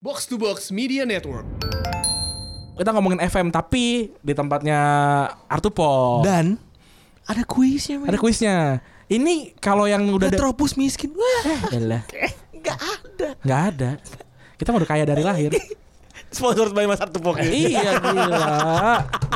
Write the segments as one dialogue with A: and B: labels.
A: Box to Box Media Network.
B: Kita ngomongin FM tapi di tempatnya Artupol.
C: Dan ada kuisnya.
B: Oh. Ada kuisnya. Ini kalau yang udah ada-
C: Retropus miskin. Wah,
B: Eh, elah.
C: nggak ada.
B: nggak ada. Kita udah kaya dari lahir.
C: Sponsor by Mas Artupok.
B: iya gila.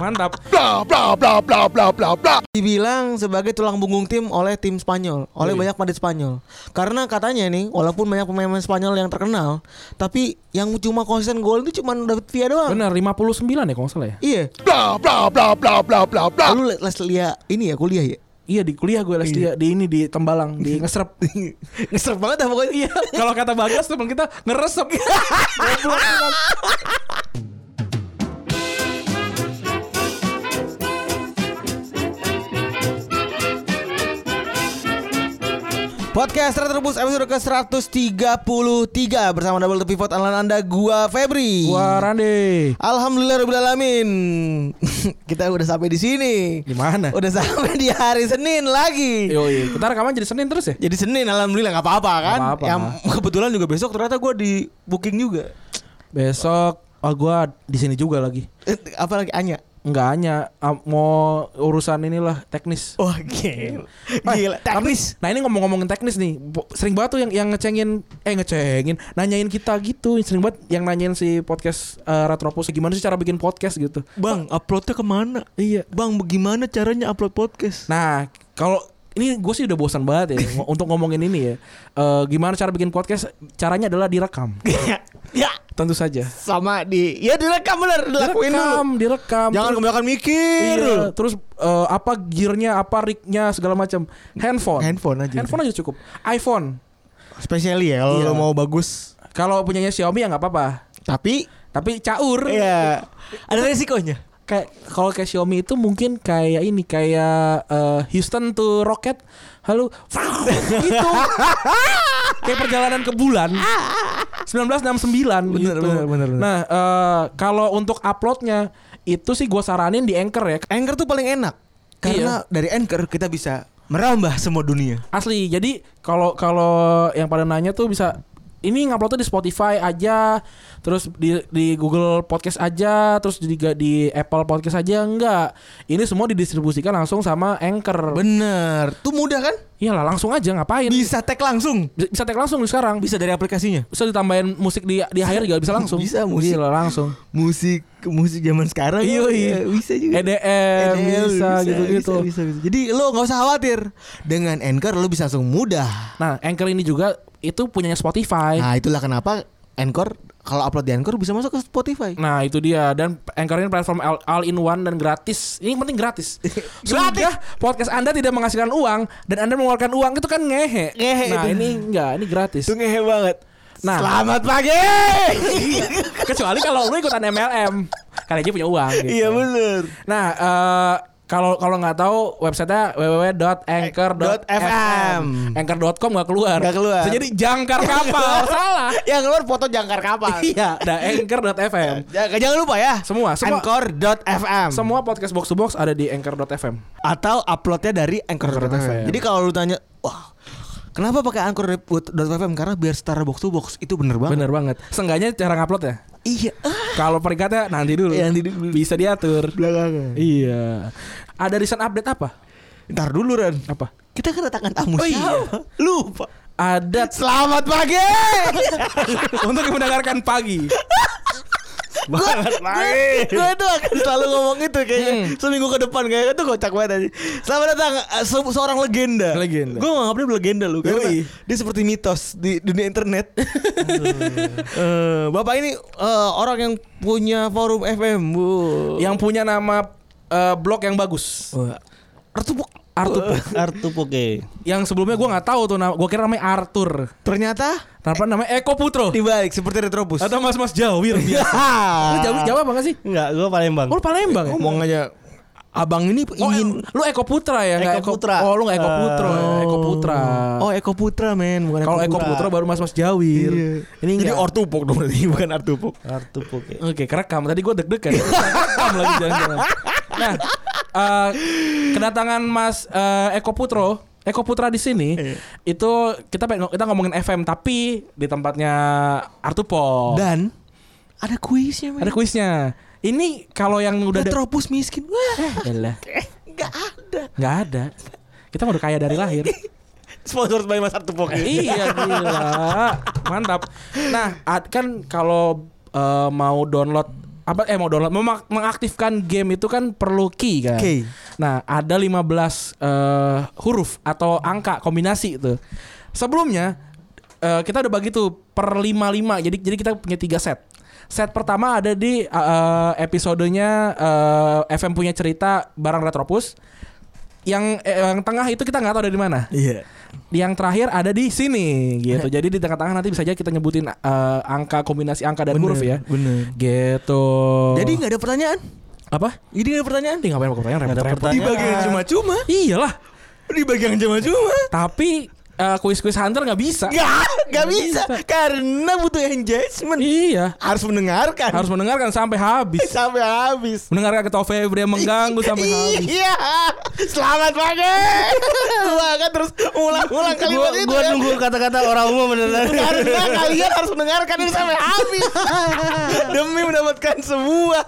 B: Mantap.
D: Dibilang sebagai tulang punggung tim oleh tim Spanyol, oleh banyak pandit Spanyol. Karena katanya nih, walaupun banyak pemain-pemain Spanyol yang terkenal, tapi yang cuma konsisten gol itu cuma David Villa doang.
B: Bener 59 ya kalau nggak salah ya.
D: Iya. Lu les les lia ini ya kuliah ya.
B: Iya di kuliah gue les dia di ini di Tembalang di ngeserep.
D: Ngeser banget dah pokoknya.
B: iya, kalau kata Bagas teman kita ngeresep. Goblok banget.
D: Podcast Retropus episode ke-133 bersama Double The Pivot andalan Anda gua Febri.
B: Gua Rande.
D: Alhamdulillah Rabbil Alamin Kita udah sampai di sini.
B: Gimana? Iya.
D: Udah sampai di hari Senin lagi.
B: Yoi, kita rekaman jadi Senin terus ya?
D: Jadi Senin alhamdulillah nggak apa-apa kan.
B: Nggak apa-apa.
D: Yang kebetulan juga besok ternyata gue di booking juga.
B: Besok oh gua di sini juga lagi.
D: Eh, Apalagi Anya.
B: Enggak hanya ah, mau urusan inilah teknis.
D: Wah gila.
B: Eh,
D: Gila. Teknis.
B: tapi- nah ini ngomong-ngomongin teknis nih, bo- sering banget tuh yang yang ngecengin, eh ngecengin, nanyain kita gitu, sering banget yang nanyain si podcast eh, Retropus gimana sih cara bikin podcast gitu.
D: Bang uploadnya kemana?
B: Iya.
D: Bang bagaimana caranya upload podcast?
B: Nah kalau ini gue sih udah bosan banget ya ngo- untuk ngomongin ini ya. Eh, gimana cara bikin podcast? Caranya adalah direkam,
D: ya
B: tentu saja.
D: sama di ya direkam bener dilakuin dulu.
B: direkam, direkam.
D: Jangan
B: Terus-
D: kebanyakan mikir.
B: Iya, terus eh, apa gearnya, apa rignya segala macam. Handphone.
D: Handphone aja.
B: Handphone aja cukup. iPhone.
D: Spesially ya kalau
B: Iya.
D: lo mau bagus.
B: Kalau punyanya Xiaomi ya nggak apa-apa.
D: Tapi
B: Tapi caur.
D: ya ada resikonya.
B: Kayak kalau kayak Xiaomi itu mungkin kayak ini kayak eh, Houston to rocket. Halo. gitu. kayak perjalanan ke bulan. 1969
D: Bener,
B: gitu.
D: bener, bener, bener.
B: Nah, eh, kalau untuk uploadnya itu sih gue saranin di Anchor ya.
D: Anchor tuh paling enak karena dari Anchor kita bisa merambah semua dunia.
B: Asli. Jadi kalau kalau yang pada nanya tuh bisa ini nguploadnya di Spotify aja, terus di di Google Podcast aja, terus juga di Apple Podcast aja enggak. Ini semua didistribusikan langsung sama Anchor.
D: Bener, tuh mudah kan?
B: Iyalah langsung aja ngapain? Bisa,
D: Bisa tag langsung.
B: bisa tag langsung di sekarang. Bisa
D: Bisa dari aplikasinya.
B: bisa ditambahin musik di di akhir juga bisa langsung.
D: Bisa, musik.
B: Gila, langsung.
D: Musik musik zaman sekarang
B: Iya, iya.
D: ya, bisa juga.
B: EDM, bisa gitu-gitu.
D: bisa, bisa. Jadi lo nggak usah khawatir dengan Anchor lo bisa langsung mudah.
B: Nah, Anchor ini juga itu punyanya Spotify.
D: Nah itulah kenapa Anchor kalau upload di Anchor bisa masuk ke Spotify.
B: Nah itu dia dan Anchor ini platform all, all in one dan gratis. Ini yang penting gratis. Sudah podcast Anda tidak menghasilkan uang dan Anda mengeluarkan uang itu kan ngehe.
D: Ngehe
B: nah
D: itu.
B: ini enggak, ini gratis.
D: ngehe banget.
B: Nah.
D: Selamat pagi.
B: Kecuali kalau lu ikutan MLM, kali aja punya uang. Gitu.
D: iya bener.
B: Nah eh, kalau kalau nggak tahu websitenya www.anchor.fm anchor.com nggak keluar
D: Nggak keluar. Iya.
B: jadi jangkar kapal salah
D: Yang keluar foto jangkar kapal.
B: iya ada anchor.fm
D: Jangan, jangan lupa ya.
B: Semua, semua.
D: Anchor.fm.
B: semua podcast box to box ada di anchor.fm
D: atau uploadnya dari
B: Anchor.fm.
D: Anchor.fm. Jadi kalau lu tanya, wah, kenapa pakai Anchor.fm? Karena biar setara box to box itu bener banget.
B: Bener banget. Seenggaknya cara ngupload ya.
D: Iya.
B: Kalau peringkatnya nanti dulu.
D: Iya, nanti dulu.
B: Bisa diatur.
D: Belakangan.
B: iya. Ada recent update apa?
D: Ntar dulu Ren.
B: Apa?
D: Kita kedatangan tamu
B: Oh, iya.
D: siapa? Lupa.
B: Ada
D: Selamat pagi.
B: untuk mendengarkan pagi.
D: Gue tuh akan selalu ngomong itu kayaknya
B: Hmm.
D: seminggu ke depan kayaknya tuh kocak banget aja. Selamat datang eh, se- seorang legenda.
B: Legenda.
D: Gue nganggapnya legenda lu karena
B: Yoi.
D: dia seperti mitos di dunia internet. Eh, Bapak ini eh, orang yang punya forum FM, Bu.
B: Yang punya nama eh, blog yang bagus.
D: Artupuk
B: Artupuk.
D: Artupuk
B: Yang sebelumnya gua nggak tahu tuh nama. Gua kira namanya Arthur.
D: Ternyata
B: Kenapa namanya Eko Putro?
D: dibalik seperti Retrobus.
B: Atau Mas Mas Jawir biasa. Lu Jawir Jawa apa nggak sih?
E: Enggak, gue Palembang.
B: Oh, lu Palembang ya?
D: Ah. Ngomong aja Abang ini
B: Oh,
D: ingin Eh.
B: lu Eko Putra ya? nggak
E: Eko Putra.
B: Oh, lu nggak Eko Putra. ya, Eko Putra.
D: Oh Eko Putra men bukan
B: Kalau Eko Putra baru Mas Mas Jawir.
D: Iya.
B: Ini
D: Jadi
B: nggak.
D: ortupok dong berarti bukan artupok.
E: Artupuk
D: iya.
E: ya.
B: Oke, kerekam. Tadi gue deg-degan. kerekam lagi jangan-jangan. Nah, eh, kedatangan Mas eh, Eko Putro Eko Putra di sini
D: Iya.
B: itu kita pengen kita ngomongin FM tapi di tempatnya Artupol.
D: Dan
C: Ada kuisnya men.
B: Oh. Ada kuisnya. Ini kalau yang udah ada-
C: Retropus miskin. Wah,
B: Eh, elah,
C: enggak ada.
B: nggak ada. Kita udah kaya dari lahir.
C: Sponsored by Mas Artupok.
B: iya gila. Mantap. Nah, ad- kan kalau eh, mau download apa eh mau download memak- mengaktifkan game itu kan perlu key kan.
D: Key.
B: Nah, ada 15 eh, huruf atau angka kombinasi itu. Sebelumnya eh, kita udah bagi tuh per 55. Jadi jadi kita punya tiga set. Set pertama ada di eh, eh, episodenya eh, FM punya cerita barang Retropus. Yang eh, yang tengah itu kita nggak tahu dari mana
D: Iya
B: yang terakhir ada di sini
D: Eh.
B: gitu. Jadi di tengah-tengah nanti bisa aja kita nyebutin eh, angka kombinasi angka dan
D: Bener,
B: huruf ya.
D: bener.
B: Gitu.
D: Jadi nggak ada pertanyaan
B: apa?
D: Jadi nggak ada pertanyaan
B: Ih, ngapain mau pertanyaan
D: Nggak ada
B: repot-repot.
D: pertanyaan. Di bagian cuma-cuma
B: Iyalah.
D: Di bagian cuma-cuma
B: Tapi eh, kuis-kuis hunter nggak bisa.
D: Gak, gak bisa. Karena butuh engagement.
B: Iya.
D: Harus mendengarkan.
B: Harus mendengarkan sampai habis.
D: sampai habis.
B: Mendengarkan ketawa Febri yang mengganggu sampai habis.
D: Iya. Selamat pagi. Gua akan terus ulang-ulang
E: Gua,
D: kalimat itu.
E: gua
D: ya.
E: nunggu kata-kata orang umum beneran.
D: Karena kalian harus mendengarkan ini sampai habis demi mendapatkan sebuah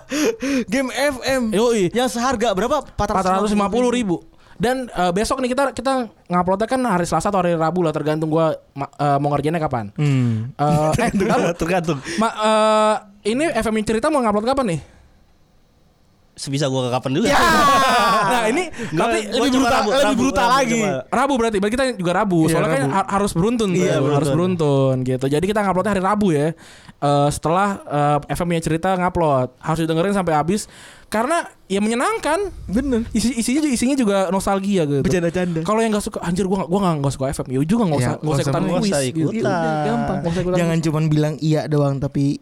D: game FM
B: Yoi.
D: yang seharga berapa?
B: 450 ribu. Dan eh, besok nih kita kita nguploadnya kan hari Selasa atau hari Rabu lah tergantung gua ma- eh, mau ngerjainnya kapan.
D: Hmm.
B: Eh, eh, lalu-
E: Tergantung.
B: Ma, eh, ini FM cerita mau ngupload kapan nih?
E: Sebisa gua kapan juga.
B: nah ini Ya.
E: Gua-
B: tapi
E: gua
B: lebih
E: coba
B: brutal,
E: Rabu,
B: lebih
E: Rabu,
B: brutal
E: Rabu
B: lagi.
E: coba.
B: Rabu berarti, berarti kita juga Rabu.
D: Iya,
B: soalnya kan
D: Rabu.
B: har- harus beruntun,
E: Iya,
B: tuh, harus
E: beruntun.
B: beruntun gitu. Jadi kita nguploadnya hari Rabu ya. Eh, setelah eh, FM punya cerita ngupload harus didengerin sampai habis karena ya menyenangkan.
D: Bener.
B: Isi isinya juga isinya juga nostalgia gitu.
D: Bercanda-canda.
B: Kalau yang gak suka anjir gua gak, gua gak, suka FM. Ya juga gak usah
D: Ya,
B: gak usah ikutan
E: Iya, nggak
B: kuis
E: usah
B: gitu.
E: ikutan.
B: Udah, Gampang nggak usah ikutan
D: Jangan cuman bilang iya doang tapi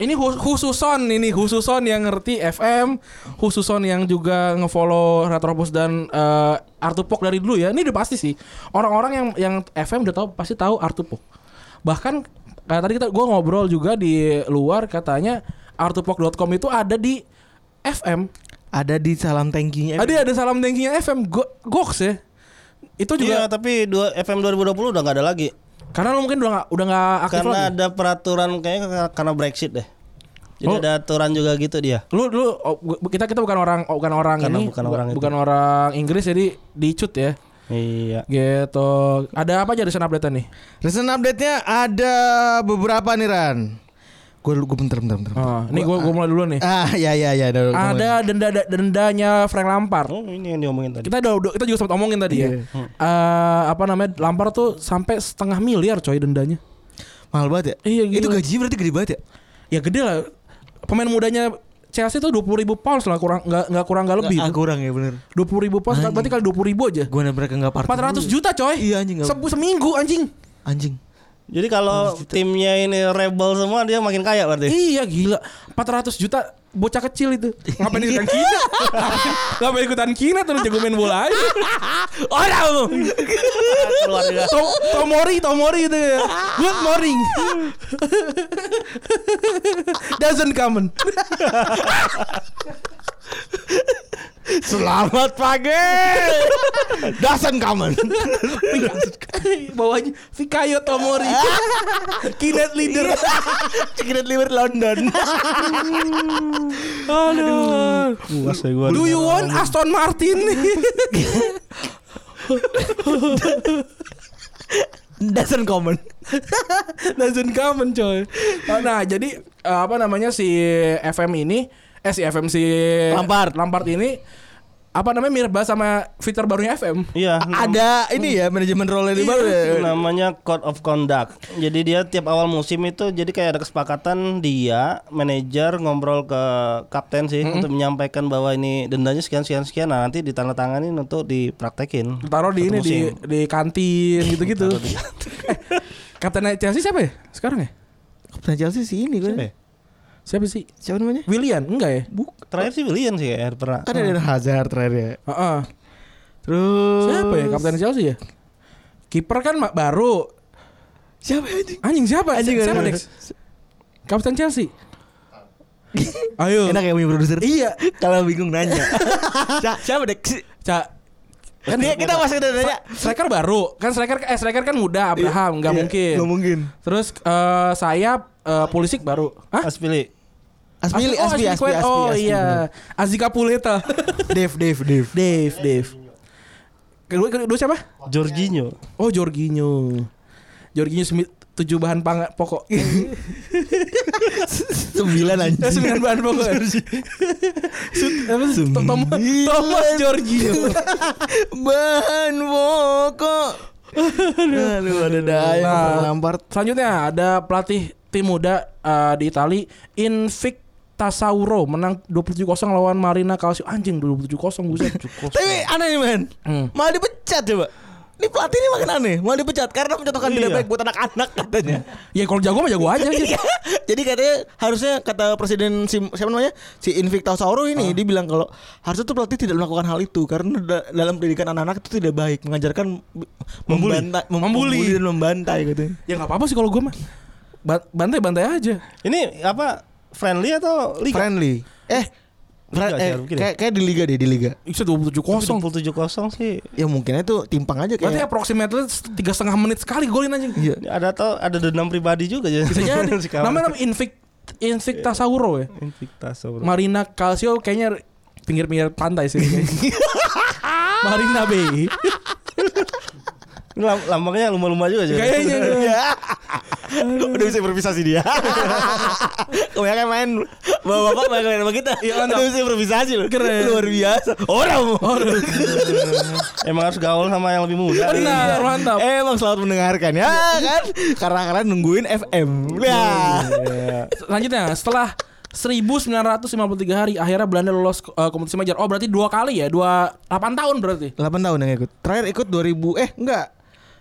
B: Ini khus- khususon ini khususon yang ngerti FM, khususon yang juga ngefollow Retropus dan eh, Artupok dari dulu ya. Ini udah pasti sih. Orang-orang yang yang FM udah tahu pasti tahu Artupok. Bahkan kayak tadi kita gua ngobrol juga di luar katanya artupok.com itu ada di FM.
D: ada di salam tankinya
B: Ada ada salam tankinya FM Go, goks ya. Itu juga
E: Iya, tapi dua, FM 2020 udah nggak ada lagi.
B: karena lo mungkin udah nggak udah nggak aktif
E: karena
B: lagi.
E: ada peraturan kayaknya kar- karena Brexit deh. Jadi
B: Oh.
E: ada aturan juga gitu dia.
B: Lu lu oh, gua- kita kita bukan orang oh, bukan orang
E: Karena
B: ini
E: bukan
B: bu-
E: orang itu.
B: bukan orang Inggris jadi dicut ya.
E: Iya.
B: Gitu. Ada apa aja recent update nih?
D: Recent update-nya ada beberapa nih Ran. Gue gue bentar bentar bentar. bentar.
B: Oh, nih gua gua mulai dulu nih.
D: Ah ya ya ya. udah, udah,
B: Ada denda dendanya Frank Lampard.
E: Oh, ini yang diomongin tadi.
B: Kita udah udah- kita juga sempat omongin tadi ya.
D: Iya.
B: Eh, apa namanya? Lampard tuh sampai setengah miliar coy dendanya.
D: mulai. Mahal banget ya.
B: Iya, gila.
D: Itu gajinya berarti gede banget ya.
B: Ya gede lah. Pemain mudanya Chelsea tuh 20 ribu pounds lah kurang nggak nggak kurang nggak lebih.
D: Ah, kurang ya bener.
B: 20 ribu pounds berarti kali 20 ribu aja.
D: Gue mereka nggak party.
B: 400
D: dulu ya.
B: juta coy.
D: Iya, anjing, nggak-
B: Sebu- seminggu anjing.
D: Anjing.
E: Jadi kalau timnya ini rebel semua dia makin
D: Eh.
E: kaya berarti.
B: Iya gila 400 juta bocah kecil itu
D: Eh.
B: ngapain ikutan kina ngapain ikutan kina terus jago main bola aja orang lu
E: Keluarga.
B: To- Tomori Tomori itu ya good morning doesn't come
D: Selamat pagi. Dasan kamen.
B: bawahnya Fikayo Iya. Tomori kinet leader
D: Cikinet liver London.
B: aduh
E: Puas ya gua.
B: do you want Aston Martin
D: Dasan kamen.
B: doesn't come coy nah jadi eh, apa namanya si FM ini eh si FM si
D: Lampard.
B: Lampard ini apa namanya mirip banget sama fitur barunya FM
E: Iya. nam-
D: Ada ini ya manajemen role ini baru. ya.
B: Eh,
E: namanya code of conduct. Jadi dia tiap awal musim itu jadi kayak ada kesepakatan dia manajer ngobrol ke kapten sih untuk menyampaikan bahwa ini dendanya sekian sekian sekian. Nah, nanti ditandatanganin untuk dipraktekin.
B: taruh di
E: Satu
B: ini di
E: musim.
B: di kantin gitu-gitu Eh, kapten Chelsea siapa ya sekarang ya
D: Kapten Chelsea sih ini
E: Siapa ya?
D: gue.
B: siapa sih
D: Siapa namanya?
B: Willian enggak ya
D: Buk.
E: Terakhir sih Willian sih kayaknya pernah.
D: Kan ada Hazard terakhir ya.
B: Heeh.
D: Terus
B: siapa ya kapten Chelsea ya kiper kan ma- baru
D: Siapa ya, anjing?
B: anjing siapa
D: Anjing,
B: siapa
D: anjing.
B: Dex kapten Chelsea ayo
D: Enak ya punya produser.
B: iya
D: Kalau bingung nanya. siapa dek?
B: Ca
D: Kan dia kita masih udah nanya.
B: striker baru kan striker eh striker kan muda Abraham nggak
D: Iya,
B: mungkin.
D: nggak mungkin.
B: Terus eh, sayap eh, Pulisic baru.
E: Hmm.
B: Hah?
E: Aspili.
D: Asmili,
B: oh,
D: Aspi, Aspi,
B: Quet.
D: Aspi.
B: Oh
D: Aspi,
B: iya. Azika Puleta.
D: bener. Dave, Dave, Dave.
B: Dave, Dave. Kedua, kedua siapa?
E: Jorginho.
B: Oh, Jorginho. Jorginho Smith tujuh bahan pang pokok. Eh,
D: Sembilan anjing.
B: Sembilan bahan pokok. Sut- apa sih? Tom- Thomas, Thomas Jorginho.
D: Bahan pokok. Aduh, ada daya.
B: Nah.
D: Lampard.
B: Selanjutnya ada pelatih tim muda eh, di Itali Invictasauro menang 27-0 lawan Marina Calcio. Anjing 27-0 buset.
D: Tapi aneh nih men.
B: Hmm.
D: Malah dipecat coba. Ini pelatih ini makin aneh. Malah dipecat karena mencontohkan tidak
E: Iya.
D: baik buat anak-anak katanya.
B: ya kalau jago mah jago aja gitu.
D: Iya. Jadi katanya harusnya kata presiden si, siapa namanya si Invictasauro ini dia bilang kalau harusnya tuh pelatih tidak melakukan hal itu karena da- dalam pendidikan anak-anak itu tidak baik mengajarkan b-
E: Membuli.
D: membantai, mem-
B: Membuli.
D: membuli dan membantai gitu.
B: ya nggak apa-apa sih kalau gue mah. Ba- Bantai-bantai aja.
E: Ini apa friendly atau liga?
D: Friendly. Eh, fri-
E: Liga,
D: eh,
E: mungkin ya.
D: kayak, kayak di liga deh di liga.
B: Bisa 27-0.
E: 27-0 sih.
D: Ya mungkin itu timpang aja
B: Berarti
D: kayak.
B: approximately tiga setengah menit sekali golin anjing.
D: Iya.
E: Ada atau ada dendam pribadi juga jadi.
B: Bisa jadi. Iya
E: Si kawan.
B: kan? Namanya apa? Invict Invictasauro ya.
E: Invictus. bro.
B: Marina Calcio kayaknya pinggir-pinggir pantai sih. kayaknya. Marina Bay.
E: Ini lam- lambangnya lumba-lumba juga jadi.
B: Kayaknya gitu.
D: Udah bisa improvisasi dia. Kebanyakan main bapak-bapak main main sama kita.
B: Iya, mantap.
D: Udah bisa improvisasi loh.
B: Keren.
D: Luar biasa. Orang.
B: Aduh.
E: Emang harus gaul sama yang lebih muda. Iya,
B: Benar, mantap.
D: Emang selamat mendengarkan ya kan? Karena karena nungguin FM. Ya.
B: Selanjutnya setelah 1953 hari akhirnya Belanda lolos eh, kompetisi Majer. Oh berarti dua kali ya, dua 8 tahun berarti.
D: 8 tahun yang ikut. Terakhir ikut 2000 eh enggak.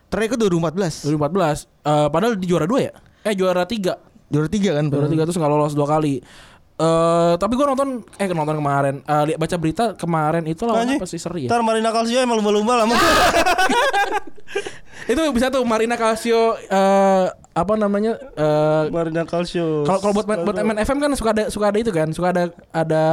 D: Terakhir ikut 2014.
B: 2014. Eh, padahal di juara dua ya? Eh juara tiga.
D: Juara 3 kan?
B: Juara tiga terus nggak lolos dua kali. Eh tapi gua nonton eh nonton kemarin Eh, li- baca berita kemarin itu lawan
E: Anjing.
B: apa sih seri ya? Ah.
E: Ntar Marina Calcio emang lumba-lumba lama.
B: Itu bisa tuh Marina Calcio eh apa namanya eh,
E: Marina Calcio.
B: kalau kalau buat ma- buat MN FM kan suka ada suka ada itu kan suka ada ada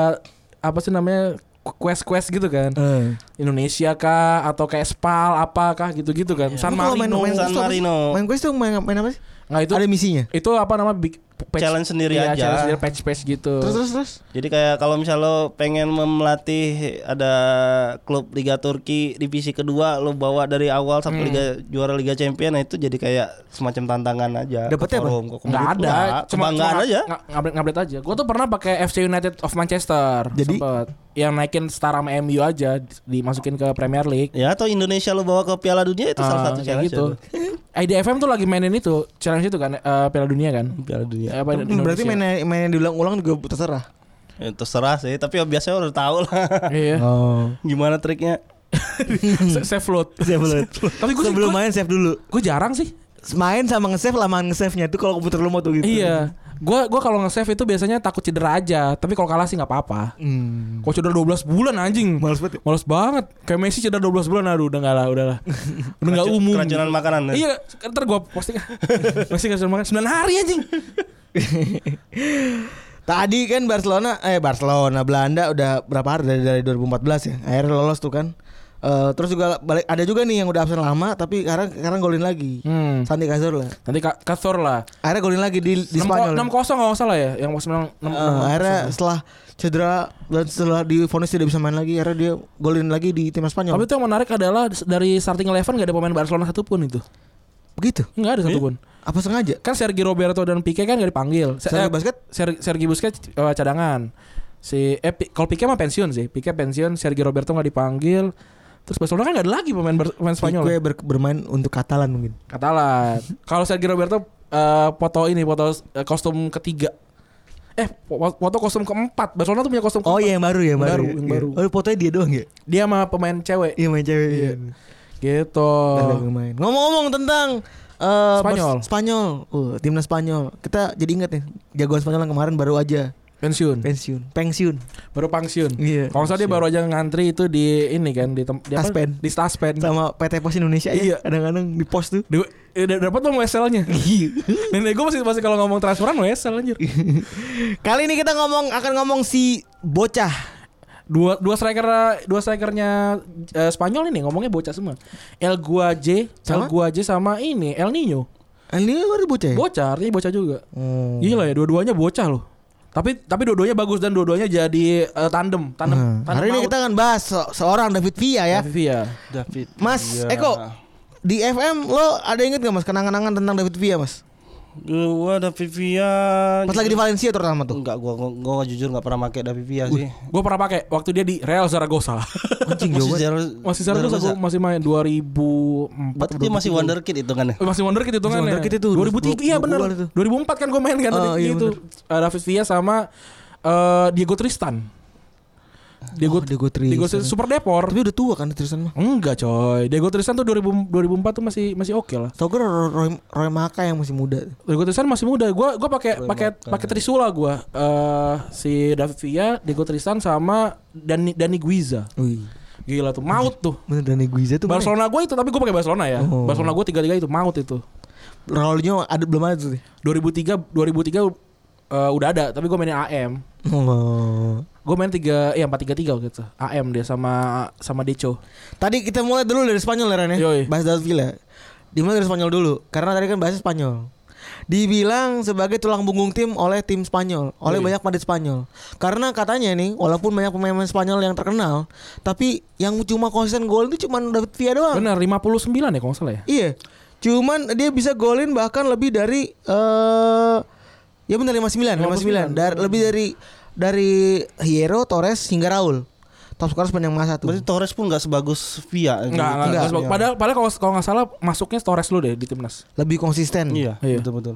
B: apa sih namanya quest quest gitu kan
D: Eh.
B: Indonesia kah atau kayak Spal apakah gitu-gitu kan San
D: Lu kalau
B: Marino
D: main, main
E: San
D: quest tuh apa sih?
E: Marino.
D: Main quest tuh main, main apa sih?
B: nah itu
D: Ada misinya.
B: itu apa nama big patch-
E: Challenge sendiri
B: Iya,
E: aja.
B: challenge sendiri patch patch gitu
D: Terus terus terus.
E: Jadi kayak kalau misal lo pengen memelatih ada klub Liga Turki divisi kedua lo bawa dari awal sampai
B: Hmm.
E: liga juara Liga Champion nah itu jadi kayak semacam tantangan aja.
D: Dapetnya apa?
B: nggak ada
E: cuma
B: cuma
E: aja.
B: nga- ngabret ngabret aja gue tuh pernah pakai FC United of Manchester
D: Jadi?
B: sempet. yang naikin setara sama MU aja di- dimasukin ke Premier League
E: Ya atau Indonesia lo bawa ke Piala Dunia itu salah
B: Ah,
E: satu
B: kayak
E: challenge
B: gitu.
E: itu.
B: IDFM tuh lagi mainin itu challenge itu kan eh, Piala Dunia kan.
E: Piala Dunia.
B: Eh, apa,
D: Iya. Hmm,
B: Indonesia.
D: Berarti mainnya mainnya diulang-ulang juga terserah.
E: Ya, terserah sih, tapi biasanya udah tahu lah
B: Iya.
D: Oh.
E: gimana triknya.
B: Se- Save float. Tapi gue
D: sebelum main save dulu.
B: gue jarang sih.
D: Main sama nge-save lamaan nge-save-nya tuh kalau komputer lu mau tuh gitu.
B: Iya. Gua gua kalau nge-save itu biasanya takut cedera aja, tapi kalau kalah sih nggak apa-apa.
D: Hmm.
B: Kalau cedera 12 bulan anjing.
D: Males banget. ya?
B: Males banget. Kayak Messi cedera 12 bulan aduh udah enggak lah, udah lah. Udah enggak
E: Keracu-
B: umum.
E: Keracunan makanan. ya?
B: Iya, ntar gua posting. Messi keracunan makan 9 hari anjing.
D: Tadi kan Barcelona eh Barcelona Belanda udah berapa hari dari, dari 2014 ya. Akhirnya lolos tuh kan. Eh, terus juga balik ada juga nih yang udah absen lama tapi sekarang sekarang golin lagi.
B: Hmm.
D: Santi Cazorla.
B: Nanti Kak Kathor lah.
D: Akhirnya golin lagi di, di
B: 6
D: Spanyol.
B: 0 kalau nggak salah ya, yang pas menang 6
D: Eh, akhirnya setelah cedera dan setelah divonis tidak bisa main lagi, akhirnya dia golin lagi di timnas
B: Tapi
D: Spanyol.
B: itu yang menarik adalah dari starting eleven gak ada pemain Barcelona satupun itu.
D: Begitu.
B: Enggak ada satupun.
D: Apa sengaja?
B: Kan Sergi Roberto dan Pique kan gak dipanggil. Se- eh,
D: Sergi Busquets?
B: Ser- Sergi Busquets eh, cadangan. Si eh, Pi- kalau Pique mah pensiun sih. Pique pensiun, Sergi Roberto gak dipanggil. Terus Barcelona kan gak ada lagi pemain Bar- pemain Spanyol.
D: Gue bermain untuk Katalan mungkin.
B: Katalan. kalau Sergi Roberto eh, foto ini foto eh, kostum ketiga. Eh, fo- foto kostum keempat. Barcelona tuh punya kostum
D: Oh
B: keempat.
D: iya yang baru ya, yang
B: Yang
D: baru.
B: baru, yang
D: Iya.
B: baru.
D: Oh, fotonya dia doang ya?
B: Dia sama pemain cewek.
D: Iya main cewek. Iya.
B: Gitu.
D: Ada yang main. Ngomong-ngomong tentang eh,
B: Spanyol.
D: Bas- Spanyol. Uh, timnas Spanyol. Kita jadi ingat nih, jagoan Spanyol yang kemarin baru aja
B: Pensiun.
D: pensiun. Pensiun.
B: baru pensiun.
D: Iya.
B: Kalau nggak salah dia baru aja ngantri itu di ini kan di tem- di apa?
D: Taspen.
B: di Taspen.
D: Sama PT Pos Indonesia
B: Iya.
D: ya. Kadang-kadang di pos tuh.
B: Di- eh, udah dapat dong weselnya. Nenek gue masih masih kalau ngomong transferan wesel anjir.
D: Kali ini kita ngomong akan ngomong si bocah
B: Dua dua striker dua strikernya eh, Spanyol ini ngomongnya bocah semua. El Guaje, El
D: Sama?
B: Guaje sama ini El Niño.
D: Ini kan bocah ya?
B: Bocah, artinya bocah juga.
D: Hmm.
B: Gila ya, dua-duanya bocah loh. Tapi tapi dua-duanya bagus dan dua-duanya jadi eh, tandem, tandem.
D: Nah,
B: tandem
D: hari ini
B: maut.
D: kita akan bahas se- seorang David Villa ya.
B: Tapi ya.
E: David.
D: Mas
E: Iya.
D: Eko, di FM lo ada inget gak mas kenangan-kenangan tentang David Villa mas?
E: Gua David Villa.
D: Pas lagi di Valencia terutama tuh.
E: Enggak, gua, gua, gua jujur nggak pernah pakai David Villa sih.
B: Gue pernah pakai waktu dia di Real Zaragoza.
D: Anjing
E: Masih
D: jauh.
E: Zara-
B: masih Zaragoza
E: Zaragoza.
B: gue masih main 2004.
E: Berarti dia masih
B: 2003.
E: wonder kid itu kan ya?
B: Eh, masih wonder kid itu kan
D: Masih
B: ya.
D: wonderkid itu,
B: 2003 iya
D: 20
B: benar
D: bulan itu.
B: 2004 kan gue main kan
D: Oh,
B: tadi
D: iya,
B: itu Eh, David Villa sama eh, Diego Tristan Diego,
D: Oh, Diego Tristan.
B: Diego Tristan Super Depor
D: Tapi udah tua kan Tristan mah.
B: enggak coy Diego Tristan tuh 2000, 2004 tuh masih masih oke lah
D: Tau gue Roy, Roy, Roy Maka yang masih muda.
B: Diego Tristan masih muda gua gua pakai
E: Roy
B: pakai
D: kan.
E: Martin.
B: pakai Trisula gua Eh, si David Villa Diego Tristan sama Dani Dani Guiza
D: Wih,
B: gila tuh maut tuh
D: bener Dani Guiza tuh. mana ya?
B: Barcelona gue itu tapi gue pakai Barcelona ya
D: Oh.
B: Barcelona gue tiga tiga itu maut itu
D: Ronaldinho ada belum ada tuh.
B: 2003 2003 eh, udah ada tapi gue mainin AM
D: Oh.
B: gue main tiga ya empat tiga tiga gitu AM dia sama sama Deco
D: Tadi kita mulai dulu dari Spanyol ya Ren ya.
B: Yoi.
D: Bahas David Villa. Dimulai dari Spanyol dulu karena tadi kan bahasnya Spanyol. Dibilang sebagai tulang punggung tim oleh tim Spanyol, oleh banyak pemain Spanyol. Karena katanya nih, walaupun banyak pemain Spanyol yang terkenal, tapi yang cuma konsisten gol itu cuma David Villa doang.
B: benar 59 ya kalau nggak salah ya
D: Iya. Cuman dia bisa golin bahkan lebih dari eh ya benar 59,
B: 59.
D: 59. Dar, lebih dari dari Hierro, Torres hingga Raul. Top skor sepanjang masa tuh.
E: Berarti Torres pun nggak sebagus Villa. gitu.
B: Enggak, enggak,
D: Enggak,
B: enggak.
D: iya.
B: Padahal, padahal kalau kalau nggak salah masuknya Torres lu deh di timnas.
D: Lebih konsisten.
E: Iya,
B: Iya.
E: betul betul.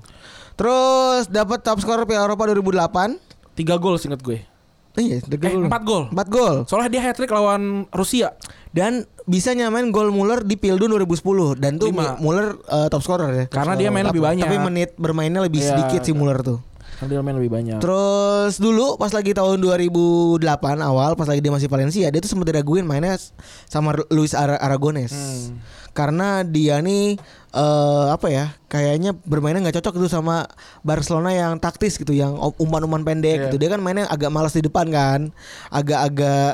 D: Terus dapat top skor Piala Eropa 2008.
B: Tiga gol singkat gue.
D: Iya, tiga
B: Eh, empat gol.
D: Empat gol.
B: Soalnya dia hat trick lawan Rusia.
D: Dan bisa nyamain gol Muller di Pildun 2010 dan tuh
B: Lima.
D: Muller eh, top scorer ya.
B: Karena dia main
D: Tapi-
B: lebih banyak.
D: Tapi menit bermainnya lebih
B: Iya.
D: sedikit si Muller tuh.
B: Karena dia main lebih banyak.
D: Terus dulu pas lagi tahun 2008 awal pas lagi dia masih Valencia dia tuh sempat diraguin mainnya s- sama Ru- Luis Ara- Aragones. Karena dia nih eh, apa ya kayaknya bermainnya nggak cocok itu sama Barcelona yang taktis gitu yang o- umpan-umpan pendek
B: Iya.
D: gitu. Dia kan mainnya agak malas di depan kan. Agak-agak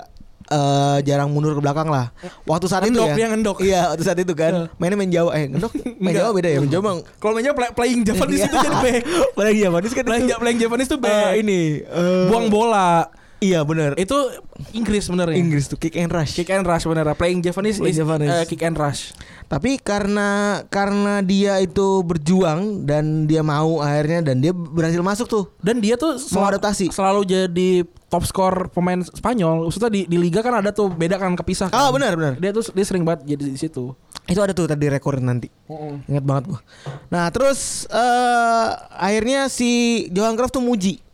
D: eh, jarang mundur ke belakang lah. Waktu saat
B: Ngendok,
D: itu ya.
B: dia ngendok.
D: Iya, waktu saat itu kan. Mainnya main Jawa eh ngendok. Main
B: Enggak.
D: Jawa beda ya. Main Jawa mah-
B: Kalau mainnya play, playing Japanese itu jadi back.
D: Playing Japanese kan
B: Iya. Playing,
D: itu,
B: playing Japanese itu
D: eh,
B: back.
D: ini eh,
B: Buang bola.
D: Iya benar.
B: Itu Inggris sebenarnya.
D: Inggris tuh kick and rush.
B: Kick and rush bener Playing Japanese,
D: Playing
B: is,
D: Japanese.
B: eh, kick and rush.
D: Tapi karena karena dia itu berjuang dan dia mau akhirnya dan dia berhasil masuk tuh.
B: Dan dia tuh selalu,
D: Mengadaptasi.
B: selalu jadi top skor pemain Spanyol. Maksudnya di, di liga kan ada tuh beda kan kepisah. Kan?
D: Ah, benar, benar.
B: Dia tuh dia sering banget jadi di situ.
D: Itu ada tuh tadi rekor nanti. Ingat banget gua. Nah, terus eh akhirnya si Johan Cruyff tuh muji.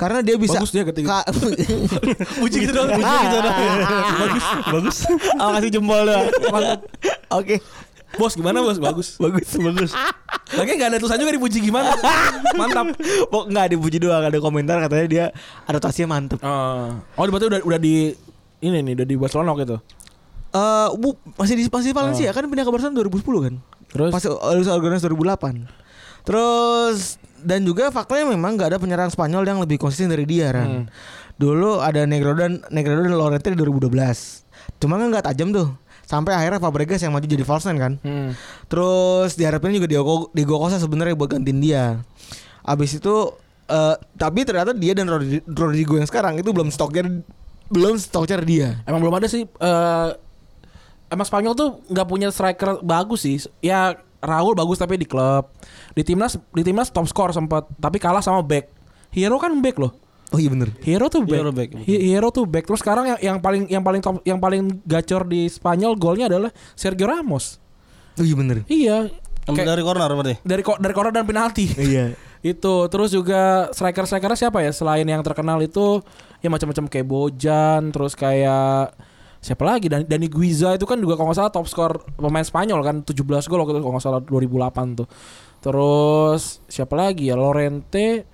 D: Karena Hmm. dia bisa
B: Bagus dia ketika-
D: Ka-
B: Uji gitu dong, uji gitu dong. Bagus, bagus.
C: Oh kasih jempol doang.
D: Oke,
B: Bos gimana bos? Bagus.
C: bagus bagus.
B: Lagi nggak ada tulisan juga dipuji gimana. Mantap.
D: Pok nggak dipuji doang ada komentar katanya dia adaptasinya mantep.
B: Eh, oh, berarti udah udah di ini nih udah di Barcelona gitu.
D: Eh, bu, masih di masih Valencia kan pindah ke Barcelona 2010 kan?
B: Oh. Terus?
D: Pas Luis Aragonés 2008. Terus dan juga faktanya memang nggak ada penyerang Spanyol yang lebih konsisten dari dia
B: Hmm.
D: kan. Dulu ada Negredo dan Negredo dan Lorente di 2012. Cuma kan nggak tajam tuh. Sampai akhirnya Fabregas yang maju jadi false nine kan.
B: Hmm.
D: Terus diharapin juga Diego Diego Costa sebenarnya buat gantiin dia. Abis itu eh, tapi ternyata dia dan Rodri- Rodrigo yang sekarang itu belum stoknya belum stoknya dia.
B: Emang belum ada sih eh emang Spanyol tuh nggak punya striker bagus sih. Ya Raul bagus tapi di klub. Di timnas di timnas top skor sempat tapi kalah sama back. Hero kan back loh.
D: Oh iya bener
B: Hero tuh back.
E: Hero back,
B: Hi- Hero tuh back. Terus sekarang yang, yang paling yang paling top, yang paling gacor di Spanyol golnya adalah Sergio Ramos.
D: Oh iya bener
B: Iya.
E: Ambil
B: Kayak-
E: dari corner berarti.
B: dari ko- dari corner dan penalti.
D: Iya.
B: itu terus juga striker strikernya siapa ya selain yang terkenal itu ya macam-macam kayak Bojan terus kayak siapa lagi dan Dani Guiza itu kan juga kalau nggak salah top skor pemain Spanyol kan 17 gol waktu itu kalau nggak salah 2008 tuh terus siapa lagi ya Lorente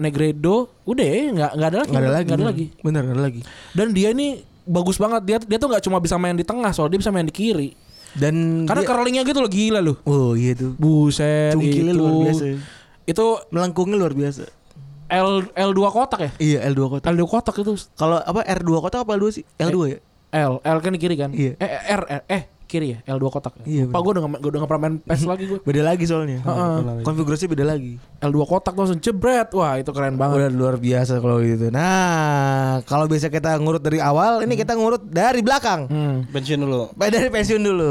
B: Negredo udah ya nggak nggak ada lagi
D: Nggak ada lagi.
B: nggak ada
D: bener.
B: lagi
D: Bener nggak ada lagi.
B: dan dia ini bagus banget dia dia tuh nggak cuma bisa main di tengah soalnya dia bisa main di kiri
D: Dan
B: karena
D: dia-
B: curlingnya gitu loh gila loh
D: oh iya tuh.
B: buset
D: Cungkilnya
B: itu
D: luar biasa. ya.
B: itu
D: Melengkungnya luar biasa.
B: L L2 kotak ya?
D: Iya L2 kotak.
B: L2 kotak itu
D: Kalau apa R2 kotak apa L2 sih?
B: Eh.
D: L2 ya?
B: L L kan di kiri kan?
D: Iya.
B: Eh eh, R, R eh kiri ya L2 kotak.
D: Iya,
B: Pak gue udah nggak- gua udah nggak pernah main PES lagi gue.
D: Beda lagi soalnya.
B: Heeh.
D: Konfigurasi beda lagi.
B: L2 kotak gua langsung jebret. Wah, itu keren banget.
D: Udah luar biasa kalau gitu. Nah, kalau biasa kita ngurut dari awal, ini kita ngurut dari belakang.
B: Hmm.
E: Pensiun dulu.
D: Baik, Dari pensiun dulu.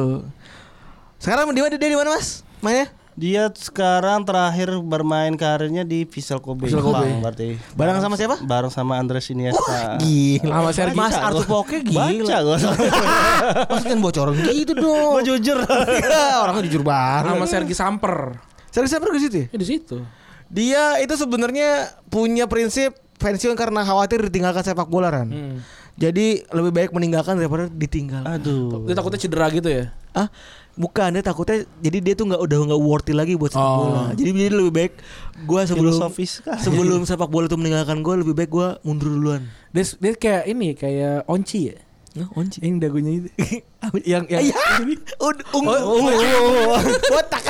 D: Sekarang dia dia di mana, Mas? Mainnya?
E: Dia sekarang terakhir bermain karirnya di Vissel Kobe.
B: Vissel Kobe.
E: Jepang berarti.
D: Bareng sama siapa?
E: Bareng sama Andres Iniesta.
D: Gila.
B: Sama Sergi.
D: Mas
E: Baca
D: Arthur
E: gua.
D: Poke gila.
E: Ah. Baca gua.
D: Mas kan bocoran gitu dong. Iya,
E: Gua jujur.
D: Orangnya jujur banget.
B: Sama Sergi Samper.
D: Serius apa ke situ ya?
B: Ya di situ.
D: Dia itu sebenarnya punya prinsip pensiun karena khawatir ditinggalkan sepak bola kan. Jadi lebih baik meninggalkan daripada ditinggal.
E: Aduh.
B: Dia takutnya cedera gitu ya.
D: Ah, bukan dia takutnya jadi dia tuh nggak udah nggak worthy lagi buat sepak
B: Oh.
D: bola. Jadi jadi lebih baik gua sebelum
E: Filosofis kan.
D: sebelum sepak bola itu meninggalkan gua lebih baik gua mundur duluan.
B: Dia, dia kayak ini kayak onci ya.
D: Onci.
B: Yang dagunya itu. yang yang
D: Iya. Ud- Ungu. Botak.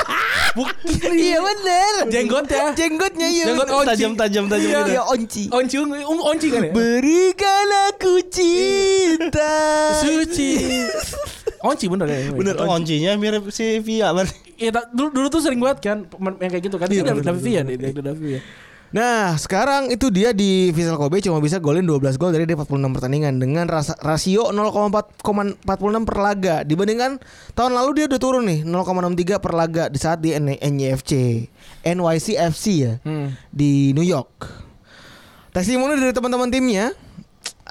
D: Iya bener.
B: Jenggotnya.
D: Jenggotnya iya.
B: ya? Jenggot
D: bener.
B: onci.
E: Tajam-tajam tajam
D: Iya,
E: gitu.
D: iya, onci.
B: onci um, onci kan ya?
D: Berikan aku cinta.
B: Suci. onci bener ya.
E: Bener, oncinya mirip si Via berarti.
B: Iya, ta- dulu, dulu tuh sering banget kan pemain yang kayak gitu kan. Iya, David David ya, David David ya.
D: Nah, sekarang itu dia di Vissel Kobe cuma bisa golin 12 gol dari dia 46 pertandingan dengan ras- rasio 0,46 per laga dibandingkan tahun lalu dia udah turun nih 0,63 per laga di saat di N- NYFC NYC FC ya
B: Hmm.
D: di New York. Testimoni dari teman-teman timnya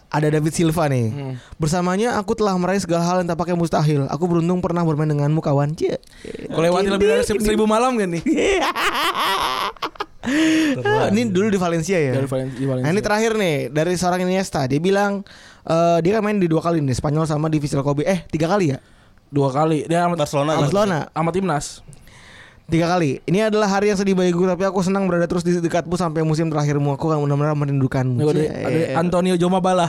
D: ada David Silva nih.
B: Hmm.
D: Bersamanya aku telah meraih segala hal yang tampaknya mustahil. Aku beruntung pernah bermain denganmu kawan. Cie.
B: Kalau lewati lebih dari se- seribu malam kan nih.
D: Ini dulu di Valencia ya.
B: Dari Valen- Iya, di Valencia.
D: Nah, ini terakhir nih dari seorang Iniesta. Dia bilang eh, dia kan main di dua kali nih Spanyol sama di Vissel Kobe. Eh tiga kali ya?
B: dua kali. Dia sama,
E: Barcelona.
D: Barcelona
B: sama timnas.
D: tiga kali. Ini adalah hari yang sedih bagiku tapi aku senang berada terus di dekatmu sampai musim terakhirmu. Aku akan benar-benar merindukanmu.
B: Ini Ada,
D: Cie.
B: ada Antonio Jomabala.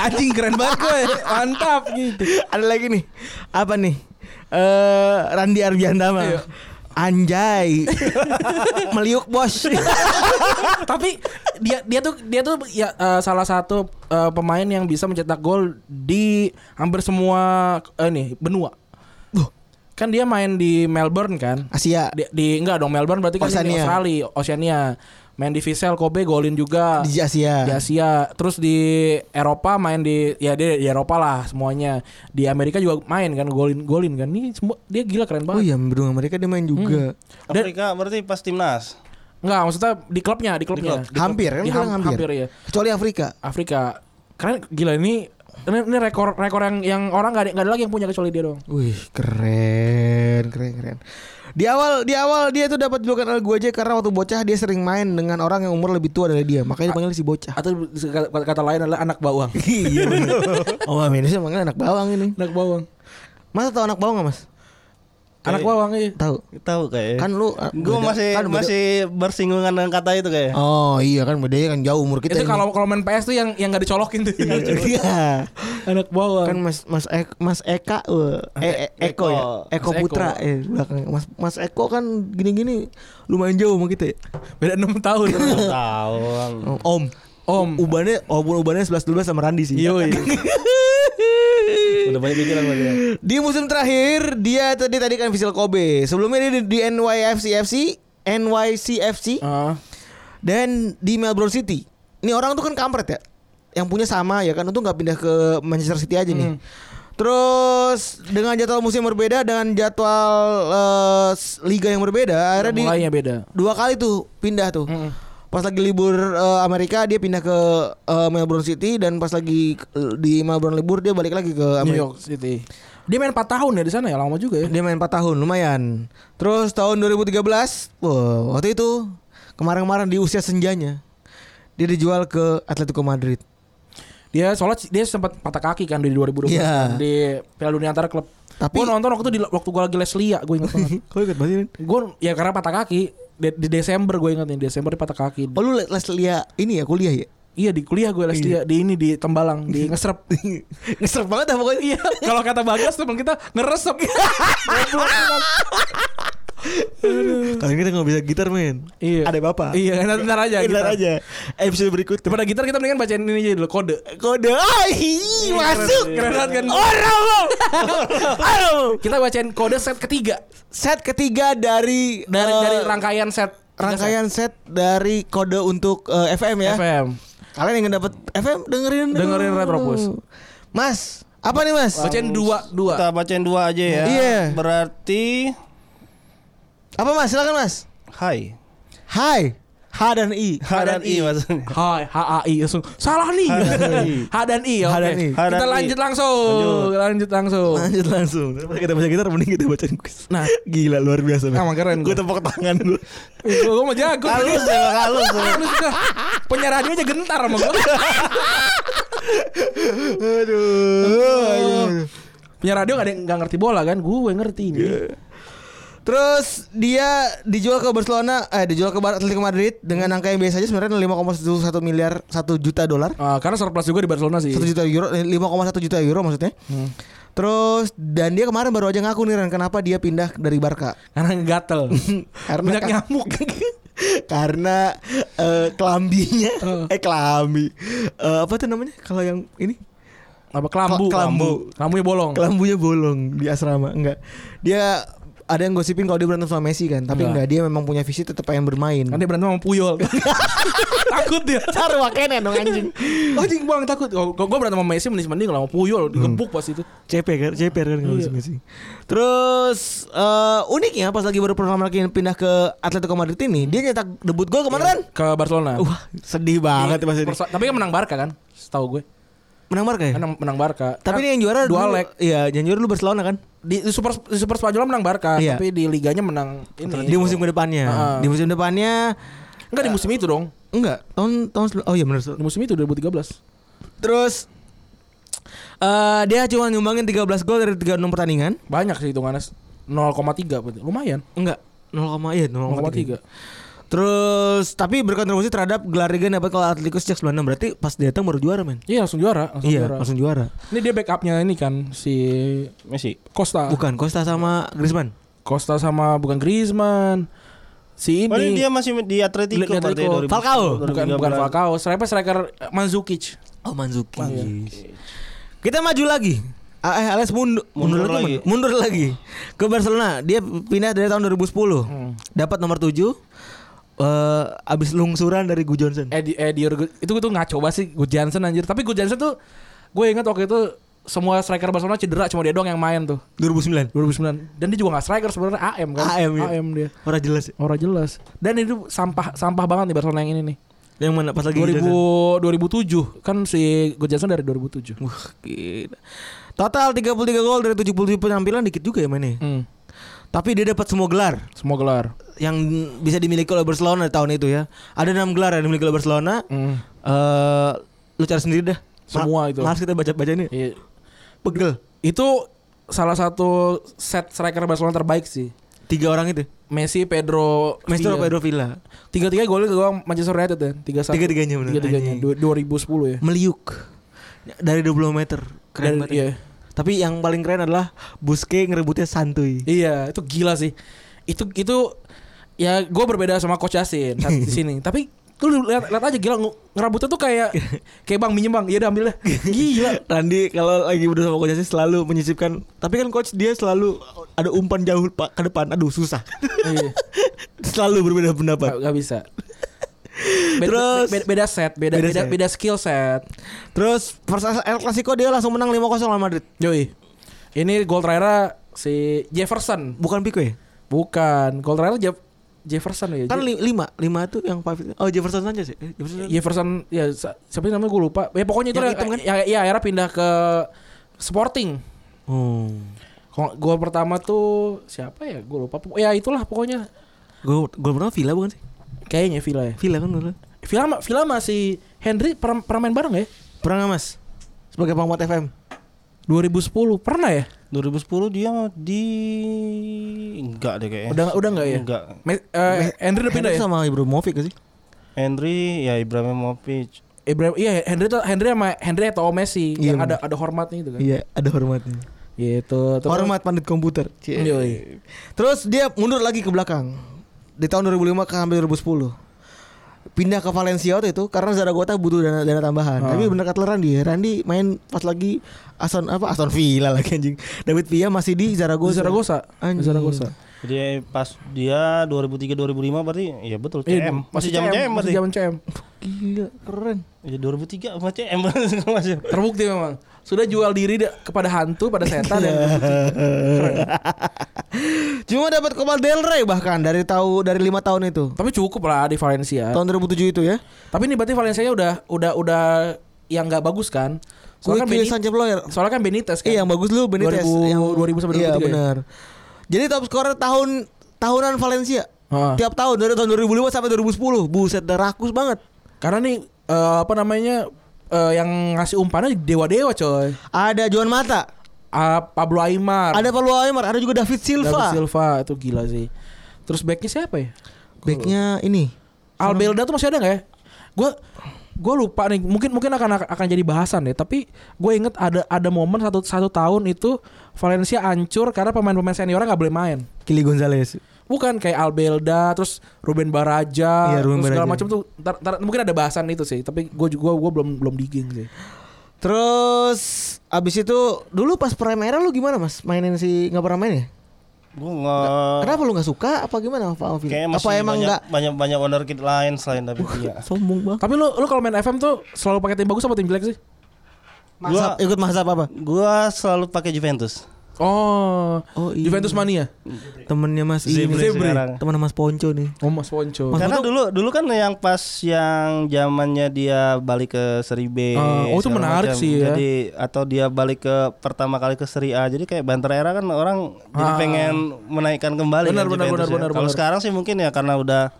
B: Anjing keren banget gue. Mantap gitu.
D: Ada lagi nih apa nih? Eh Randy Arbiandama.
B: Iya.
D: Anjay, meliuk bos.
B: Tapi dia dia tuh dia tuh ya eh, salah satu eh, pemain yang bisa mencetak gol di hampir semua eh, ini benua. Kan dia main di Melbourne kan?
D: Asia
B: di, di enggak dong Melbourne berarti kan di
D: Oceania.
B: Australia, Oceania. Main di Vissel Kobe golin juga.
D: di
B: Ah.
D: Asia.
B: Di Asia, terus di Eropa main di ya dia di Eropa lah semuanya. Di Amerika juga main kan golin-golin kan. Ini semua dia gila keren
D: Oh
B: banget.
D: iya, berdua mereka dia main juga.
B: Hmm.
E: Afrika berarti pas timnas.
B: Enggak, maksudnya di klubnya, di klubnya.
E: klub.
B: Di klub.
D: Hampir, kan
B: Di
D: bilang
B: ham-
D: hampir.
B: ya.
D: Kecuali Afrika.
B: Afrika. Keren gila ini ini, ini rekor rekor yang yang orang nggak ada, nggak ada lagi yang punya kecuali dia dong.
D: Wih keren keren keren. Di awal di awal dia tuh dapat julukan El Guaje karena waktu bocah dia sering main dengan orang yang umur lebih tua dari dia makanya dipanggil si bocah.
B: Atau kata, kata lain adalah anak bawang.
D: Iya bener. oh Indonesia manggil anak bawang ini.
B: anak bawang.
D: Mas tahu anak bawang gak mas?
B: Anak bawang iya.
D: Tahu.
E: Tahu kayaknya.
D: Kan lu uh,
E: Gue
D: beda-
E: masih
D: kan beda-
E: masih bersinggungan dengan kata itu kayak.
D: Oh iya kan bedanya kan jauh umur kita.
B: Itu
D: ini.
B: kalau kalau main PS tuh yang yang nggak dicolokin tuh.
D: Iya.
B: anak bawang.
D: kan Mas Mas Ek, Mas Eka eh, eh, Eko, ya Eko
B: Mas Eko.
D: Putra eh belakang Mas Mas Eko kan gini-gini lumayan jauh sama kita ya.
B: Beda 6 tahun.
E: Tahu.
D: Oh, Om Iya.
B: Om.
D: Ubannya Walaupun ubannya 11-12 sama Randi sih
B: Yoi.
E: Udah banyak pikiran berarti. ya.
D: Di musim terakhir Dia tadi tadi kan Vissel Kobe Sebelumnya dia di, di NYFCFC NYCFC
B: Ah.
D: Dan di Melbourne City Ini orang tuh kan kampret ya Yang punya sama ya kan Itu nggak pindah ke Manchester City aja nih Terus dengan jadwal musim berbeda dengan jadwal eh, s- liga yang berbeda, akhirnya di
B: Mulainya beda.
D: dua kali tuh pindah tuh. Pas lagi libur eh, Amerika dia pindah ke eh, Melbourne City dan pas lagi eh, di Melbourne libur dia balik lagi ke
B: New
D: Amerika.
B: York City. Iya. Dia main 4 tahun ya di sana ya, lama juga ya.
D: Eh, Dia main 4 tahun lumayan. Terus tahun 2013, wow, waktu itu kemarin-kemarin di usia senjanya dia dijual ke Atletico Madrid.
B: Dia soalnya c- dia sempat patah kaki kan di 2012 kan,
D: Iya.
B: di Piala Dunia antara klub.
D: Tapi-
B: gue nonton waktu itu di, waktu gue lagi Leslia, gue ingat banget.
D: Kau ikut banget
B: gue ya karena patah kaki di, di Desember gue ingat nih, Desember dia patah kaki.
D: Oh lu les- les lia ini ya kuliah ya?
B: Iya di kuliah gue Leslia di ini di Tembalang di ngeserp.
D: Ngeser
B: Iya.
D: banget dah pokoknya.
B: Kalau kata Bagas teman kita ngeresep. Goblok, kan.
D: Kali ini kita nggak bisa gitar men.
B: Iya.
C: Ada bapak.
B: Iya, ntar, ntar aja.
C: Kita
B: gitar.
C: aja. Episode berikutnya.
B: Daripada gitar kita mendingan bacain ini aja dulu kode.
C: Kode. Ah, hi, masuk.
B: Keren banget kan?
D: Oh,
C: Orang lo. Orang lo.
B: Kita bacain kode set ketiga
D: Set ketiga dari
B: dari
D: eh,
B: dari rangkaian set
D: rangkaian set dari kode untuk eh, FM ya.
B: FM.
D: Kalian yang dapat FM dengerin dulu.
B: Dengerin Retropus.
D: Mas, apa nih Mas?
B: Bacain dua dua.
E: Kita bacain dua aja ya.
D: Iya.
E: Berarti
D: Apa Mas? Silakan Mas.
E: hai.
D: Hai. H dan I.
E: H dan I maksudnya.
B: Hai, H A I langsung salah nih.
E: H dan I.
B: H dan I. oke.
D: H dan I.
E: H dan
B: Kita
E: I.
B: lanjut langsung.
E: Lanjut.
B: Lanjut langsung.
D: Lanjut langsung. Daripada kita baca gitar mending kita bacain kuis.
B: Nah,
D: Gila luar biasa. men.
B: Emang keren,
D: Gue
B: gua.
D: tepuk tangan gue.
B: gue gua mau jago.
E: Halus ya, Bang, halus.
B: Halus dah. Penyiar radio aja gentar sama gue.
D: Aduh.
B: Penyiar radio gak ada yang gak ngerti bola kan? Gue ngerti ini.
D: Terus dia dijual ke Barcelona, eh dijual ke Bar- Atletico Madrid dengan angka yang biasa aja sebenarnya 5,11 miliar 1 juta dolar.
B: Ah, karena surplus juga di Barcelona sih.
D: 1 juta euro, eh, 5,1 juta euro maksudnya. Terus dan dia kemarin baru aja ngaku nih Ren kenapa dia pindah dari Barca.
B: Karena gatel.
D: Karena
B: Banyak
D: ka-
B: nyamuk.
D: karena eh, kelambinya eh kelambi. Eh, apa tuh namanya kalau yang ini?
B: Apa kelambu?
D: Kel- kelambu.
B: Kelambunya bolong.
D: Kelambunya bolong di asrama, enggak. Dia ada yang gosipin kalau dia berantem sama Messi kan, tapi enggak,
B: Enggak.
D: dia memang punya visi tetap pengen bermain.
B: Kan dia berantem sama Puyol. takut dia. Oh,
D: Sarwa kene dong anjing.
B: Anjing bang takut. Kalau gue berantem sama Messi mending mending kalau sama Puyol
D: Hmm.
B: digebuk pas itu.
D: CP kan, CP kan nggak bisa ngasih. Terus eh, uniknya pas lagi baru pertama kali pindah ke Atletico Madrid ini, dia nyetak debut gol kemarin.
B: Ke Barcelona.
D: Wah, sedih banget ya, Mas ini.
B: Perso- Tapi kan menang Barca kan? Setahu gue.
D: Menang Barca ya?
B: Kan menang Barca.
D: Tapi
B: Kan
D: ini yang juara
B: dua
D: dulu-
B: leg.
D: Iya, yang juara lu Barcelona kan?
B: di, di Super di Super Spanyol menang Barca,
D: Iya.
B: tapi di liganya menang ini.
D: Di musim kedepannya.
B: Ah.
D: Di musim depannya
B: Enggak di musim itu dong.
D: enggak, tahun tahun sel- oh iya benar.
B: Di musim itu 2013.
D: Terus eh dia cuma nyumbangin 13 gol dari 36 pertandingan.
B: Banyak sih hitungannya 0,3 berarti. Lumayan.
D: Enggak, 0, iya 0,3.
B: 0,3.
D: Terus tapi berkontribusi terhadap gelar Liga yang dapat kalau Atletico sejak 96 berarti pas dia datang baru juara men.
B: Iya langsung juara, langsung
D: iya,
B: juara.
D: langsung juara.
B: Ini dia backupnya ini kan si
E: Messi.
B: Costa.
D: Bukan Costa sama Griezmann.
B: Costa sama bukan Griezmann. Si
E: Oh, ini
B: ini
E: dia masih di Atletico,
B: Di Atletico.
E: berarti 2010,
D: Falcao.
B: bukan bukan
E: 2013.
B: Falcao, striker striker eh, Mandzukic.
D: Oh Manzuki. Kita maju lagi. Ah, Eh, alias mundur, mundur,
E: Mundur
D: lagi.
E: lagi.
D: men. Mundur lagi ke Barcelona. Dia pindah dari tahun 2010. Dapat nomor 7. Eh abis lungsuran dari Gu Johnson.
B: Eh, di- eh di Urugu- itu gue tuh ngaco banget sih Gue Jansen anjir. Tapi gue Jansen tuh gue ingat waktu itu semua striker Barcelona cedera cuma dia doang yang main tuh
D: 2009.
B: 2009 dan dia juga nggak striker sebenarnya AM kan
D: AM,
B: dia
D: ya. Orang jelas. ya.
B: orang jelas dan itu sampah sampah banget nih Barcelona yang ini nih
D: Yang mana pas lagi gitu Gu
B: 2000 2007
D: Johnson.
B: kan si Gojanson dari 2007
D: Wah, gila. Total 33 gol dari 77 penampilan dikit juga ya mainnya.
B: hmm,
D: Tapi dia dapat semua gelar.
B: semua gelar
D: yang bisa dimiliki oleh Barcelona di tahun itu ya. Ada enam gelar yang dimiliki oleh Barcelona.
B: Hmm.
D: Eh, lu cari sendiri dah.
B: Semua itu.
D: Harus kita baca-baca ini.
B: Iya.
D: Pegel.
B: itu salah satu set striker Barcelona terbaik sih
D: Tiga orang itu.
B: Messi Pedro
D: Messi
B: Villa.
D: Pedro Villa.
B: tiga tiga golnya ke gawang Manchester United ya tiga satu
D: Tiga-tiganya bener.
B: tiga tiganya
D: Anjing.
B: dua ribu sepuluh ya
D: Meliuk. Dari 20 meter.
B: Dan-
D: Keren banget. ya.
B: iya.
D: Tapi yang paling keren adalah Busquets ngerebutnya santuy.
B: Iya, itu gila sih. Itu itu ya gue berbeda sama coach Yasin saat di sini. Tapi lu lihat lihat aja gila nge- ngerambutnya tuh kayak kayak bang minjem bang. Iya udah ambil dah. Gila.
D: Randy kalau lagi berdua sama coachnya sih selalu menyisipkan. Tapi kan coach dia selalu ada umpan jauh pak ke depan. Aduh susah.
B: Iya,
D: selalu berbeda pendapat.
B: gak, gak bisa. Beda,
D: Terus-
B: beda, beda set, beda
D: Beda
B: beda,
D: set.
B: beda skill set.
D: Terus versus El Clasico dia langsung menang 5-0 lawan Madrid.
B: Yoi. Ini gol terakhirnya si Jefferson.
D: Bukan Pico ya?
B: Bukan, gol terakhir Jef- Jefferson ya.
D: Kan
B: Je-
D: 5, 5 itu yang 5 Oh Jefferson Sanchez ya? Eh, Jefferson Sanchez.
B: Jefferson ya sa- siapa sih namanya gue lupa. Ya pokoknya itu
D: Yang
B: yang-
D: hitam kan?
B: ya, ya, akhirnya pindah ke Sporting.
D: Oh.
B: Kalau Gol pertama tuh siapa ya? Gue lupa. Pokok- Ya itulah pokoknya.
D: Gol gol pertama Villa bukan sih?
B: Kayaknya Villa ya.
D: Villa kan dulu.
B: Villa, ma- Villa masih Henry pernah, pernah main bareng nggak ya?
D: Pernah nggak Mas? Sebagai pengamat FM.
B: 2010 pernah ya?
E: 2010 dia di enggak deh kayaknya.
B: Udah udah nggak ya?
E: Enggak.
B: Me, eh, Henry udah pindah
D: Eh, Henry
B: ya?
D: sama Ibrahimovic gak sih?
E: Henry ya Ibrahimovic.
B: Ibrahim, iya Henry tuh Henry sama Henry atau Messi
D: Iya,
B: yang
D: bener.
B: ada ada hormatnya itu kan.
D: Iya, ada hormatnya.
B: Gitu. Terus-
D: Hormat pandit komputer.
E: Iya,
D: Cie.
B: Yoi.
D: Terus dia mundur lagi ke belakang. Di tahun 2005 ke hampir 2010. Pindah ke Valencia waktu itu karena Zaragoza butuh dana, dana tambahan. Tapi bener kata Randy, Randy main pas lagi Aston apa Aston Villa lagi anjing. David Villa masih di Zaragoza.
B: Zaragoza.
D: Anjing.
B: Zaragoza.
E: Jadi pas dia 2003 2005 berarti ya betul
B: Iya,
E: CM. Masih jam CM
B: Masih
E: berarti.
B: zaman CM.
D: Gila, keren.
E: Ya 2003 sama CM masih.
B: Terbukti memang. Sudah jual diri da- kepada hantu, pada setan dan
D: Iya. Cuma dapat Copa del Rey bahkan dari tahu dari lima tahun itu.
B: Tapi cukup lah di Valencia.
D: Tahun 2007 itu ya.
B: Tapi ini berarti Valencia udah udah udah yang nggak bagus kan?
D: Gue
B: Soalnya kan,
D: pilih
B: Beni-
D: Sanchez Player.
B: soalnya kan Benitez kan.
D: Iya yang bagus lu Benitez
B: 2000
D: yang
B: 2000 sampai
D: Iya
B: 2003 ya?
D: benar. Jadi top scorer tahun tahunan Valencia.
B: Ah.
D: Tiap tahun dari tahun 2005 sampai 2010. Buset dah rakus banget.
B: Karena nih eh, apa namanya eh, yang ngasih umpannya dewa-dewa coy.
D: Ada Juan Mata,
B: Ah, Pablo Aimar.
D: ada Pablo Aimar, ada juga David
B: David
D: Silva.
B: Silva itu gila sih. Terus backnya siapa ya?
D: Backnya ini.
B: Albelda tuh masih ada nggak ya? Gue gue lupa nih. Mungkin mungkin akan akan jadi bahasan ya. Tapi gue inget ada ada momen satu satu tahun itu Valencia hancur karena pemain-pemain seniornya nggak boleh main.
D: Kili Gonzalez.
B: Bukan kayak Albelda, terus Ruben Baraja,
D: Iya, Ruben
B: terus segala
D: Baraja.
B: macam tuh. Ntar- ntar- mungkin ada bahasan itu sih. Tapi gue juga gue belum belum digging sih.
D: Terus abis itu dulu pas prime era lu gimana mas mainin si nggak pernah main ya?
E: Gua nggak-
D: Kenapa lu nggak suka? Apa gimana? Apa,
E: Kayaknya
D: apa
E: masih
D: emang
E: banyak,
D: nggak
E: banyak banyak owner kit lain selain David Villa.
D: sombong banget?
B: Tapi lu lu kalau main FM tuh selalu pakai tim bagus apa tim jelek sih?
D: Mazhab,
E: Gua-
D: ikut mazhab apa?
E: Gua selalu pakai Juventus.
B: Oh,
D: Oh, iya.
B: Juventus mania.
D: Temennya mas ini.
B: Iya,
E: Zebra sekarang.
D: Temennya mas Ponco nih.
B: Oh Mas Ponco.
D: Mas-
E: Karena
D: Ponco-
E: dulu dulu kan yang pas yang zamannya dia balik ke Seri B.
B: Ah, oh, itu
E: segala
B: menarik
E: macam.
B: sih ya.
E: Jadi atau dia balik ke pertama kali ke Seri A. Jadi kayak Banter era kan orang jadi
B: Ah.
E: pengen menaikkan kembali.
B: Benar,
E: kan
B: benar,
E: Juventus
B: benar,
E: ya.
B: benar,
E: Kalau
B: benar.
E: sekarang sih mungkin ya karena udah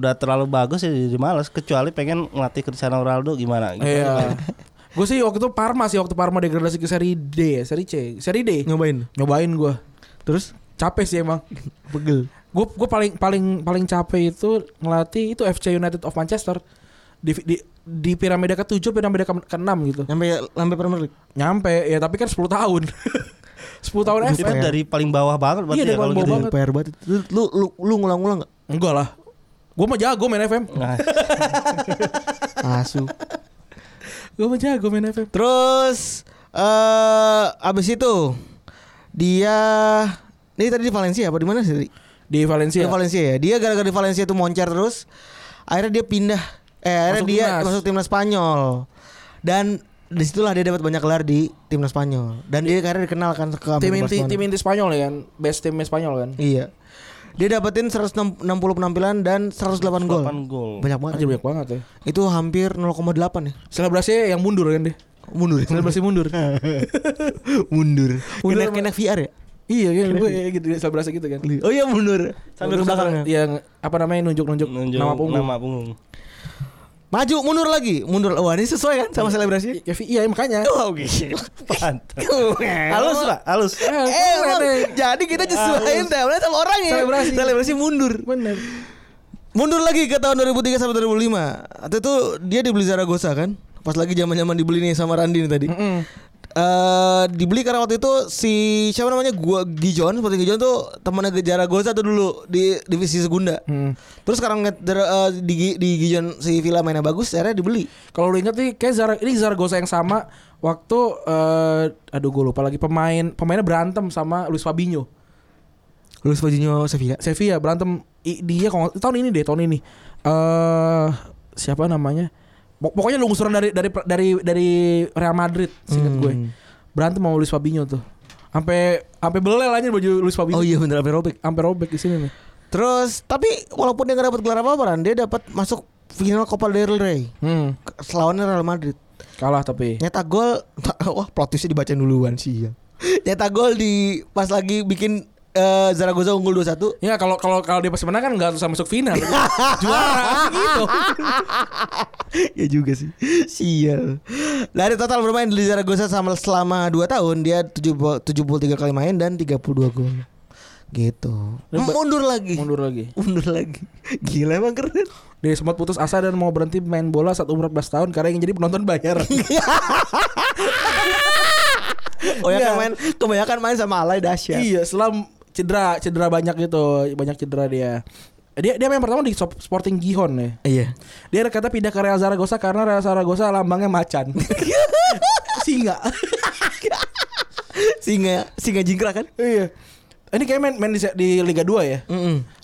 E: udah terlalu bagus ya jadi males kecuali pengen ngelatih Cristiano Ronaldo gimana gitu.
B: Iya. gue sih waktu itu Parma sih waktu Parma degradasi ke seri D ya, seri C, seri D.
D: Nyobain.
B: Nyobain gue.
D: Terus
B: Capek sih emang.
D: pegel.
B: Gue gue paling paling paling capek itu ngelatih itu FC United of Manchester di di, di piramida ke-7 piramida ke-6 gitu.
D: Sampai sampai Premier League.
B: Nyampe ya tapi kan 10 tahun. 10 tahun
E: Itu
B: FM.
E: kan dari paling bawah banget
B: ya?
E: berarti
B: Iya, dari
E: ya kalau
B: paling
E: gitu.
B: bawah
D: Banget. PR banget. Lu lu lu, lu ngulang-ngulang enggak?
B: Enggak lah. Gue mah jago main FM.
E: Nah,
D: Asu.
B: Gue mah jago main FM.
D: Terus eh abis itu dia ini tadi di Valencia apa di mana sih?
B: Di Valencia.
D: Di Valencia ya. Dia gara-gara di Valencia itu moncer terus akhirnya dia pindah eh akhirnya
B: Masuk
D: dia
B: timnas.
D: masuk timnas Spanyol. Dan disitulah dia dapat banyak gelar di timnas Spanyol dan dia akhirnya dikenalkan ke
B: tim
D: Amerika
B: inti
D: Barcelona.
B: tim inti Spanyol ya kan. Best tim Spanyol kan.
D: Iya. Dia dapetin 160 penampilan dan 108 gol.
E: 8 gol.
D: Banyak banget.
B: Aja banyak banget ya.
D: Itu hampir 0,8 ya.
B: Selebrasi yang mundur kan deh.
D: Mundur. Iya.
B: Selebrasi mundur.
D: mundur.
B: Mundur.
D: Kena kena VR ya?
B: iya, iya, gue iya, gitu, selebrasi gitu kan.
D: Oh iya mundur. Sambil ke belakang. ya?
B: Yang apa namanya nunjuk-nungjuk
E: Nunjuk
B: nama punggung.
E: Nama punggung.
D: Maju mundur lagi. Mundur. Wah, ini sesuai kan sama selebrasi?
B: Ya, Vi, iya makanya.
D: Oh, gila.
E: Mantap.
D: Keren.
E: Halus lah, halus.
B: Eh,
D: Eh,
B: keren,
D: Bang.
B: eh.
D: jadi kita nyesuaiin timeline sama orang ya.
B: Selebrasi.
D: Iya. Selebrasi mundur.
B: Bener.
D: Mundur lagi ke tahun 2003 sampai 2005. Atau itu dia dibeli Zaragoza kan? Pas lagi zaman-zaman dibeli nih sama Randi nih tadi.
B: Mm-mm.
D: Eh dibeli karena waktu itu si siapa namanya gua Gijon seperti Gijon tuh temannya ke Zaragoza tuh dulu di divisi Segunda. Terus sekarang nge- der- eh, di, Gi- di Gijon si Villa mainnya bagus, akhirnya dibeli.
B: Kalau lu inget nih, kayak Zara, ini Zaragoza yang sama waktu, eh aduh gue lupa lagi pemain pemainnya berantem sama Luis Fabinho.
D: Luis Fabinho Sevilla.
B: Sevilla berantem I- dia kalau tahun ini deh tahun ini eh siapa namanya Pok- pokoknya lungsuran dari dari dari dari Real Madrid singkat gue berantem sama Luis Fabinho tuh sampai sampai belel aja baju Luis Fabinho
D: Oh iya bener sampai robek.
B: sampai robek di sini nih
D: Terus tapi walaupun dia nggak dapat gelar apa-apa, Ran, dia dapat masuk final Copa del Rey
B: hmm,
D: ke- lawannya Real Madrid.
B: kalah tapi
D: Nyata gol wah plot twistnya dibacain duluan sih ya. Nyata gol di pas lagi bikin eh, Zaragoza unggul 2-1
B: ya kalau kalau kalau dia pasti menang kan nggak usah masuk final juara gitu
D: ya juga sih Sial Dari total bermain di Zaragoza sama selama 2 tahun Dia 70 73 kali main dan 32 gol Gitu Mundur lagi
B: mundur lagi
D: Mundur lagi Gila emang keren
B: dia sempat putus asa dan mau berhenti main bola saat umur 14 tahun karena ingin jadi penonton bayar
D: Oh ya kan main kebanyakan main sama Alay dahsyat.
B: Iya, setelah cedera, cedera banyak gitu, banyak cedera dia. Dia dia main pertama di Sop- Sporting Gijón ya.
D: Iya.
B: Dia kata pindah ke Real Zaragoza karena Real Zaragoza lambangnya macan. Singa.
D: Singa singa jingkrak kan?
B: iya. Ini kayak main, main di, di Liga 2 ya.
D: Mm-mm.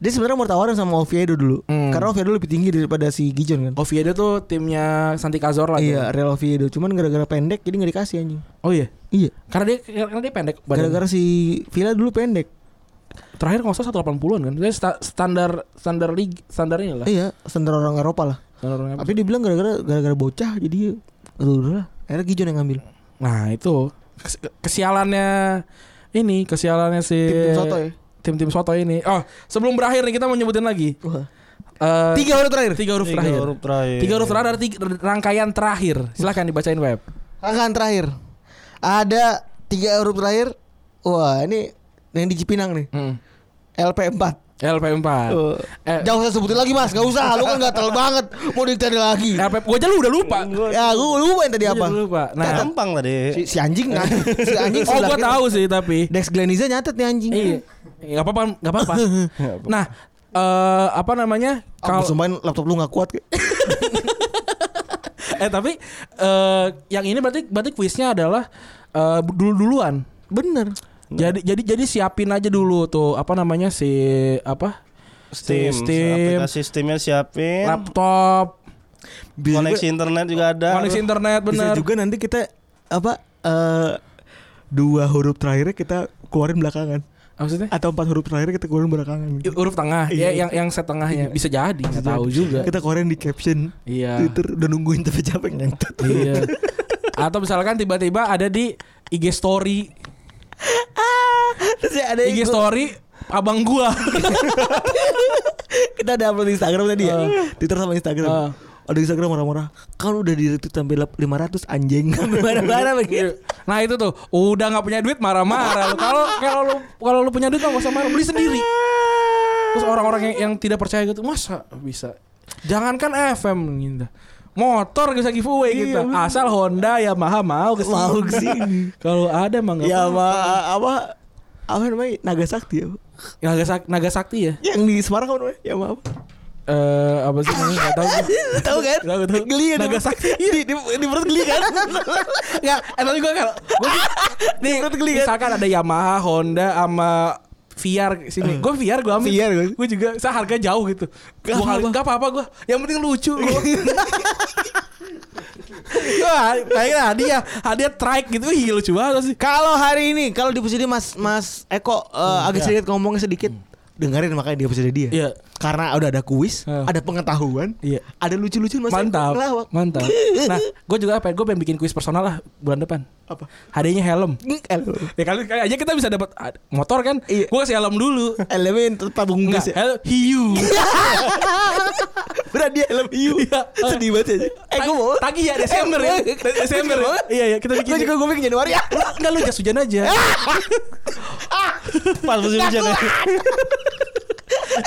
D: Dia sebenarnya mau tawaran sama Oviedo dulu.
B: Hmm. Oh,
D: Karena Oviedo lebih tinggi daripada si Gijon kan.
B: Oviedo tuh timnya Santi Cazorla tuh.
D: Iya, Real Oviedo. Cuman gara-gara pendek jadi nggak dikasih anjing.
B: Oh iya.
D: Iya.
B: Karena dia karena dia pendek badannya.
D: Gara-gara si Villa dulu pendek.
B: terakhir kalau nggak salah 180-an kan. Dia sta- standar standar lig standar ini lah.
D: Iya, standar orang Eropa lah.
B: Standar orang apa.
D: Tapi dia bilang gara-gara gara-gara bocah jadi ya, aduh udah lah. Akhirnya Gijon yang ngambil.
B: Nah, itu Kes- kesialannya ini kesialannya si
D: Tim-tim soto ya?
B: Tim-tim soto ini. Oh, sebelum berakhir nih kita mau nyebutin lagi. Eh,
D: Tiga huruf terakhir.
B: tiga huruf terakhir.
E: Tiga huruf terakhir.
B: Tiga huruf terakhir dari tiga- rangkaian terakhir. Silahkan dibacain web.
D: Rangkaian terakhir. Ada tiga huruf terakhir. Wah, ini yang di Cipinang nih. LP4.
B: LP4.
D: Oh.
B: Eh,
D: Jangan usah sebutin lagi mas, gak usah. Lu kan gatel banget. Mau dicari lagi.
B: LP gue aja lu udah lupa.
D: Ya, gue lupa yang tadi
B: Gua
D: apa.
B: udah lupa.
E: Nah,
B: Nah,
E: gampang tadi.
D: Si, si anjing kan? si anjing
B: oh
D: sebelah
B: gue
D: kita.
B: tahu sih tapi.
D: Dex Gleniza nyatet nih anjing.
B: Iya. Enggak apa-apa, enggak apa-apa. Nah, eh apa namanya?
D: Aku
B: Kalau
D: sumpahin laptop lu gak kuat.
B: eh tapi eh yang ini berarti berarti kuisnya adalah eh dulu-duluan.
D: Bener.
B: Jadi jadi jadi siapin aja dulu tuh apa namanya si apa?
E: Steam,
B: Steam.
E: aplikasi Steamnya siapin.
B: Laptop,
E: koneksi internet juga ada.
B: koneksi internet bener.
D: Bisa juga nanti kita apa eh dua huruf terakhirnya kita keluarin belakangan
B: Maksudnya?
D: atau empat huruf terakhirnya kita keluarin belakangan.
B: I- huruf tengah ya yang yang set tengahnya bisa jadi nggak tahu juga
D: Kita keluarin di caption
B: iya
D: Twitter udah nungguin tapi capek ngentot.
B: iya atau misalkan tiba-tiba ada di IG story
D: Terus ya ada
B: IG
D: yang
B: story abang gua
D: kita ada upload di Instagram tadi ya. Twitter sama Instagram.
B: Iya. Ah.
D: Ada di Instagram marah-marah. Kan udah di retweet sampai lap- 500 anjing. Marah-marah begitu.
B: nah itu tuh udah nggak punya duit marah-marah lu. kalau kalau lu kalau lu punya duit nggak usah marah beli sendiri terus orang-orang yang, yang tidak percaya gitu masa bisa jangankan FM gitu motor bisa giveaway gitu asal Honda ya Yamaha mau kesini.
D: Iya, Mau kesini.
B: kalau ada mah nggak
D: ya
B: apa-apa.
D: sama apa apa namanya Naga Sakti ya.
B: Naga Sak- Naga Sakti ya
D: Yang di Semarang apa namanya? Ya maaf.
B: Eh apa sih namanya nggak tahu gua.
D: Tahu kan?
B: Tahu, tahu.
D: Geli kan?
B: Naga Sakti.
D: Di, di, di perut geli kan?
B: Nggak, eh tapi gue kalau gua- nih,
D: Menurut geli kan?
B: misalkan ada Yamaha, Honda sama VR sini. Gue VR gue ambil.
D: VR gua.
B: Gue juga saya harga jauh gitu. Gak
D: Nggak
B: apa-apa. Iya.
D: apa-apa.
B: Gak apa-apa gue. Yang penting lucu. Wah, pengen hadiah, hadiah trike gitu. Ih, lucu banget sih.
D: kalau hari ini, kalau di posisi Mas Mas Eko eh, agak sedikit ngomongnya sedikit. Dengerin makanya di episode dia.
B: Iya.
D: Karena udah ada kuis,
B: Iya.
D: ada pengetahuan,
B: Iya.
D: ada lucu-lucuan Mas
B: Mantap.
D: Eko ngelawak.
B: Mantap. Nah, gue juga apa? Gue pengen bikin kuis personal lah bulan depan.
D: Apa?
B: Hadiahnya helm.
D: Helm.
B: Ya kali kali aja kita bisa dapat ah, motor kan?
D: Iya.
B: Gue kasih helm dulu.
D: Elemen tabung
B: Enggak,
D: gas ya.
B: helm hiu.
D: Berarti dia helm hiu. Sedih banget ya. Eh gue mau. Eh,
B: Tagi ya Desember ya.
D: Gua
B: Desember.
D: juga
B: ya?
D: banget.
B: Iya iya kita bikin.
D: Gue juga gue bikin Januari ya. Ah!
B: Enggak, enggak lu jas hujan aja.
E: Pas musim hujan ya.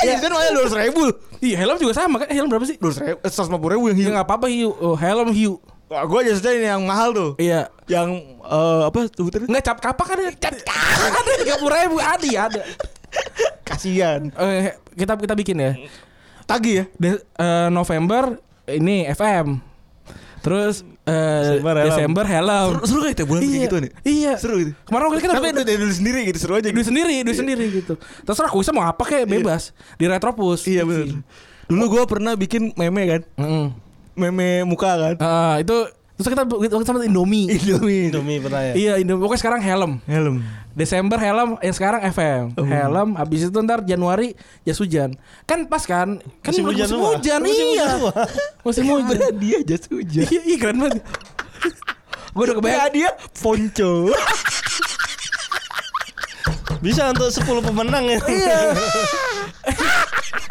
D: Eh kan malah dua ribu.
B: Iya, helm juga sama kan? Eh, Helm berapa sih?
D: Dua ribu, seratus lima ribu yang
B: Ya
D: hiu.
B: enggak apa-apa hiu. Oh, helm hiu.
D: Wah, gue aja sedang yang mahal tuh.
B: Iya.
D: Yang eh, apa sebetulnya?
B: Enggak cap kapak kan? Cap kapak. Ada 30 ribu ada ya, ada.
D: Kasian.
B: Eh, kita kita bikin ya.
D: Tagi ya.
B: De- eh, November ini FM. Terus eh,
E: Desember helm.
B: Desember helm.
D: Seru kayak tiap
B: Iya.
D: bulan kayak gitu nih.
B: Iya.
D: Seru gitu.
B: Kemarin waktu itu kan
D: Tapi
B: ada-
D: itu dari dulu sendiri gitu seru aja.
B: duit
D: Gitu.
B: sendiri, duit sendiri gitu. Terserah kuisnya mau apa kayak bebas di Retropus.
D: Iya benar. Dulu gue pernah bikin meme kan,
B: Heeh.
D: meme muka kan.
B: Ah, itu terus kita kita sama Indomie.
D: Indomie.
E: Indomie pernah ya.
B: Iya, Indomie. Pokoknya sekarang helm.
D: Helm.
B: Desember helm, yang sekarang FM.
D: Oh.
B: Helm, habis itu ntar Januari jas hujan. Kan pas kan? Kan
E: Musim
B: musim
E: hujan semua.
B: hujan,
E: Musim
B: iya.
E: hujan semua.
B: Musim hujan.
D: Berarti Nah, dia jas hujan.
B: Iya, iya keren banget. Gue udah kebayang.
D: dia ponco.
E: Bisa untuk 10 pemenang ya.
B: Iya.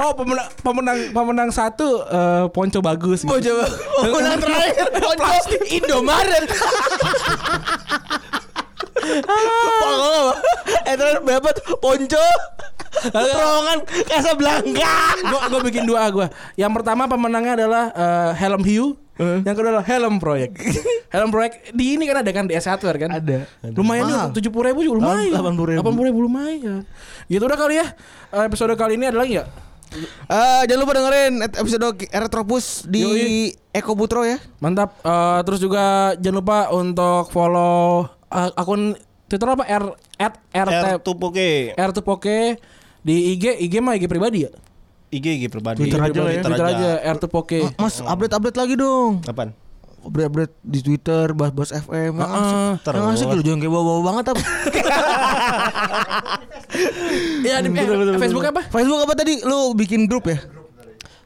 B: Oh, pemenang pemenang pemenang satu eh, ponco bagus. Gitu.
D: Ponco. Pemenang terakhir ponco Indomaret. Ponco apa? Eh terakhir berapa tuh? Ponco. Terowongan Casablanca.
B: Gue bikin dua gue. Yang pertama pemenangnya adalah eh, helm hiu. Yang kedua adalah helm proyek. helm proyek di ini kan ada kan di S1 kan? Ada. Lumayan juga tujuh puluh ribu juga lumayan. Delapan puluh ribu. lumayan. Gitu udah kali ya. Eh, Episode kali ini ada lagi nggak?
D: Eh, jangan lupa dengerin et- episode Ki- Retropus di
B: Yoi.
D: Eko Putro ya.
B: Mantap. Eh, terus juga jangan lupa untuk follow eh, akun Twitter apa R at R
E: R Tupoke
B: R tuh Poke di IG IG mah IG pribadi ya.
E: IG IG pribadi
D: Twitter aja lah ya.
E: Twitter
B: Twitter aja Oh,
E: aja
B: R tuh Poke.
D: Mas update-update lagi dong.
E: Apaan?
D: Update-update di Twitter, bahas-bahas FM. Yang asik.
E: terus.
D: Yang asik lu jangan kayak bawa-bawa banget apa.
B: Iya di eh, Facebook apa?
D: Facebook apa tadi? Lu bikin grup ya?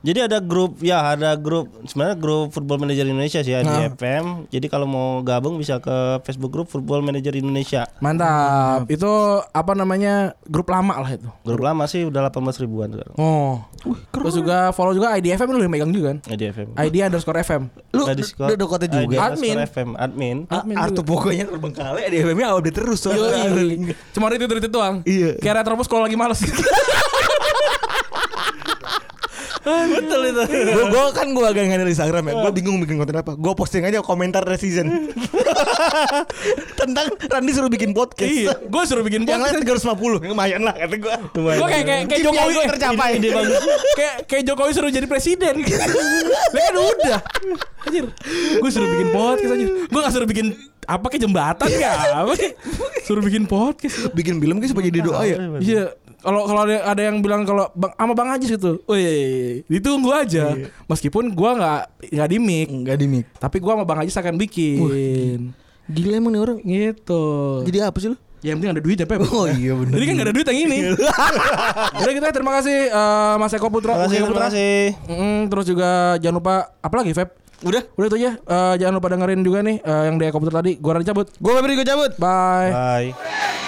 E: Jadi ada grup ya ada grup sebenarnya grup Football Manager Indonesia sih ya di
D: Nah.
E: FM. Jadi kalau mau gabung bisa ke Facebook grup Football Manager Indonesia.
B: Mantap. Itu apa namanya? Grup lama lah itu.
E: Grup lama sih udah 18 ribuan sekarang.
B: Oh. Terus juga follow juga ID FM lu yang megang juga kan?
E: Ya, di
D: Iya.
E: FM.
B: ID underscore FM.
D: Lu
E: Nah, di
D: udah
E: Discord.
D: udah kota
E: Ah, di
D: juga. Ah,
E: underscore
B: Admin.
E: FM admin.
B: Admin
D: Artu
B: juga.
D: pokoknya terbengkalai di FM-nya update terus soalnya.
B: Yoi. Cuma itu itu doang.
D: Iya.
B: Kayak retropus kalau lagi males.
D: Betul itu. Gue kan gue agak ngandelin Instagram ya. Gue bingung bikin konten apa. Gue posting aja komentar season Tentang Randy suruh bikin podcast.
B: iya. Gue suruh bikin
D: Yang
B: podcast.
D: lain 350 Lumayan lah kata gue
B: Gue kayak kayak kayak Jokowi
D: Jokowi tercapai
B: kayak kayak Jokowi suruh jadi presiden. Lah kan udah. Anjir. Gue suruh bikin podcast anjir. Gue gak suruh bikin apa kayak jembatan ya. Apa sih? Suruh bikin podcast.
D: Bikin film kayak supaya jadi doa ya
B: Iya. Kalau kalau ada, ada yang bilang kalau bang sama Bang Ajis gitu. Oh iya, iya, iya. ditunggu aja.
E: Iya.
B: Meskipun gua nggak nggak di mic,
D: Enggak di mic
B: tapi gua sama Bang Ajis akan bikin.
D: Gila emang nih orang
B: Gitu.
D: Jadi apa sih lu?
B: Ya yang penting ada duit ya Pep
D: Oh iya bener
B: Jadi kan gak ada duit yang ini Udah kita terima kasih eh, Mas Eko Putra
E: Terima
B: Mas
E: kasih,
B: Eko
E: terima
B: Putra.
E: kasih.
B: Mm, terus juga jangan lupa apa lagi Feb?
D: Udah
B: Udah itu aja. Eh, jangan lupa dengerin juga nih eh, yang di komputer tadi. Gua Rani cabut.
D: Gue Febri gue cabut
B: Bye.
E: Bye.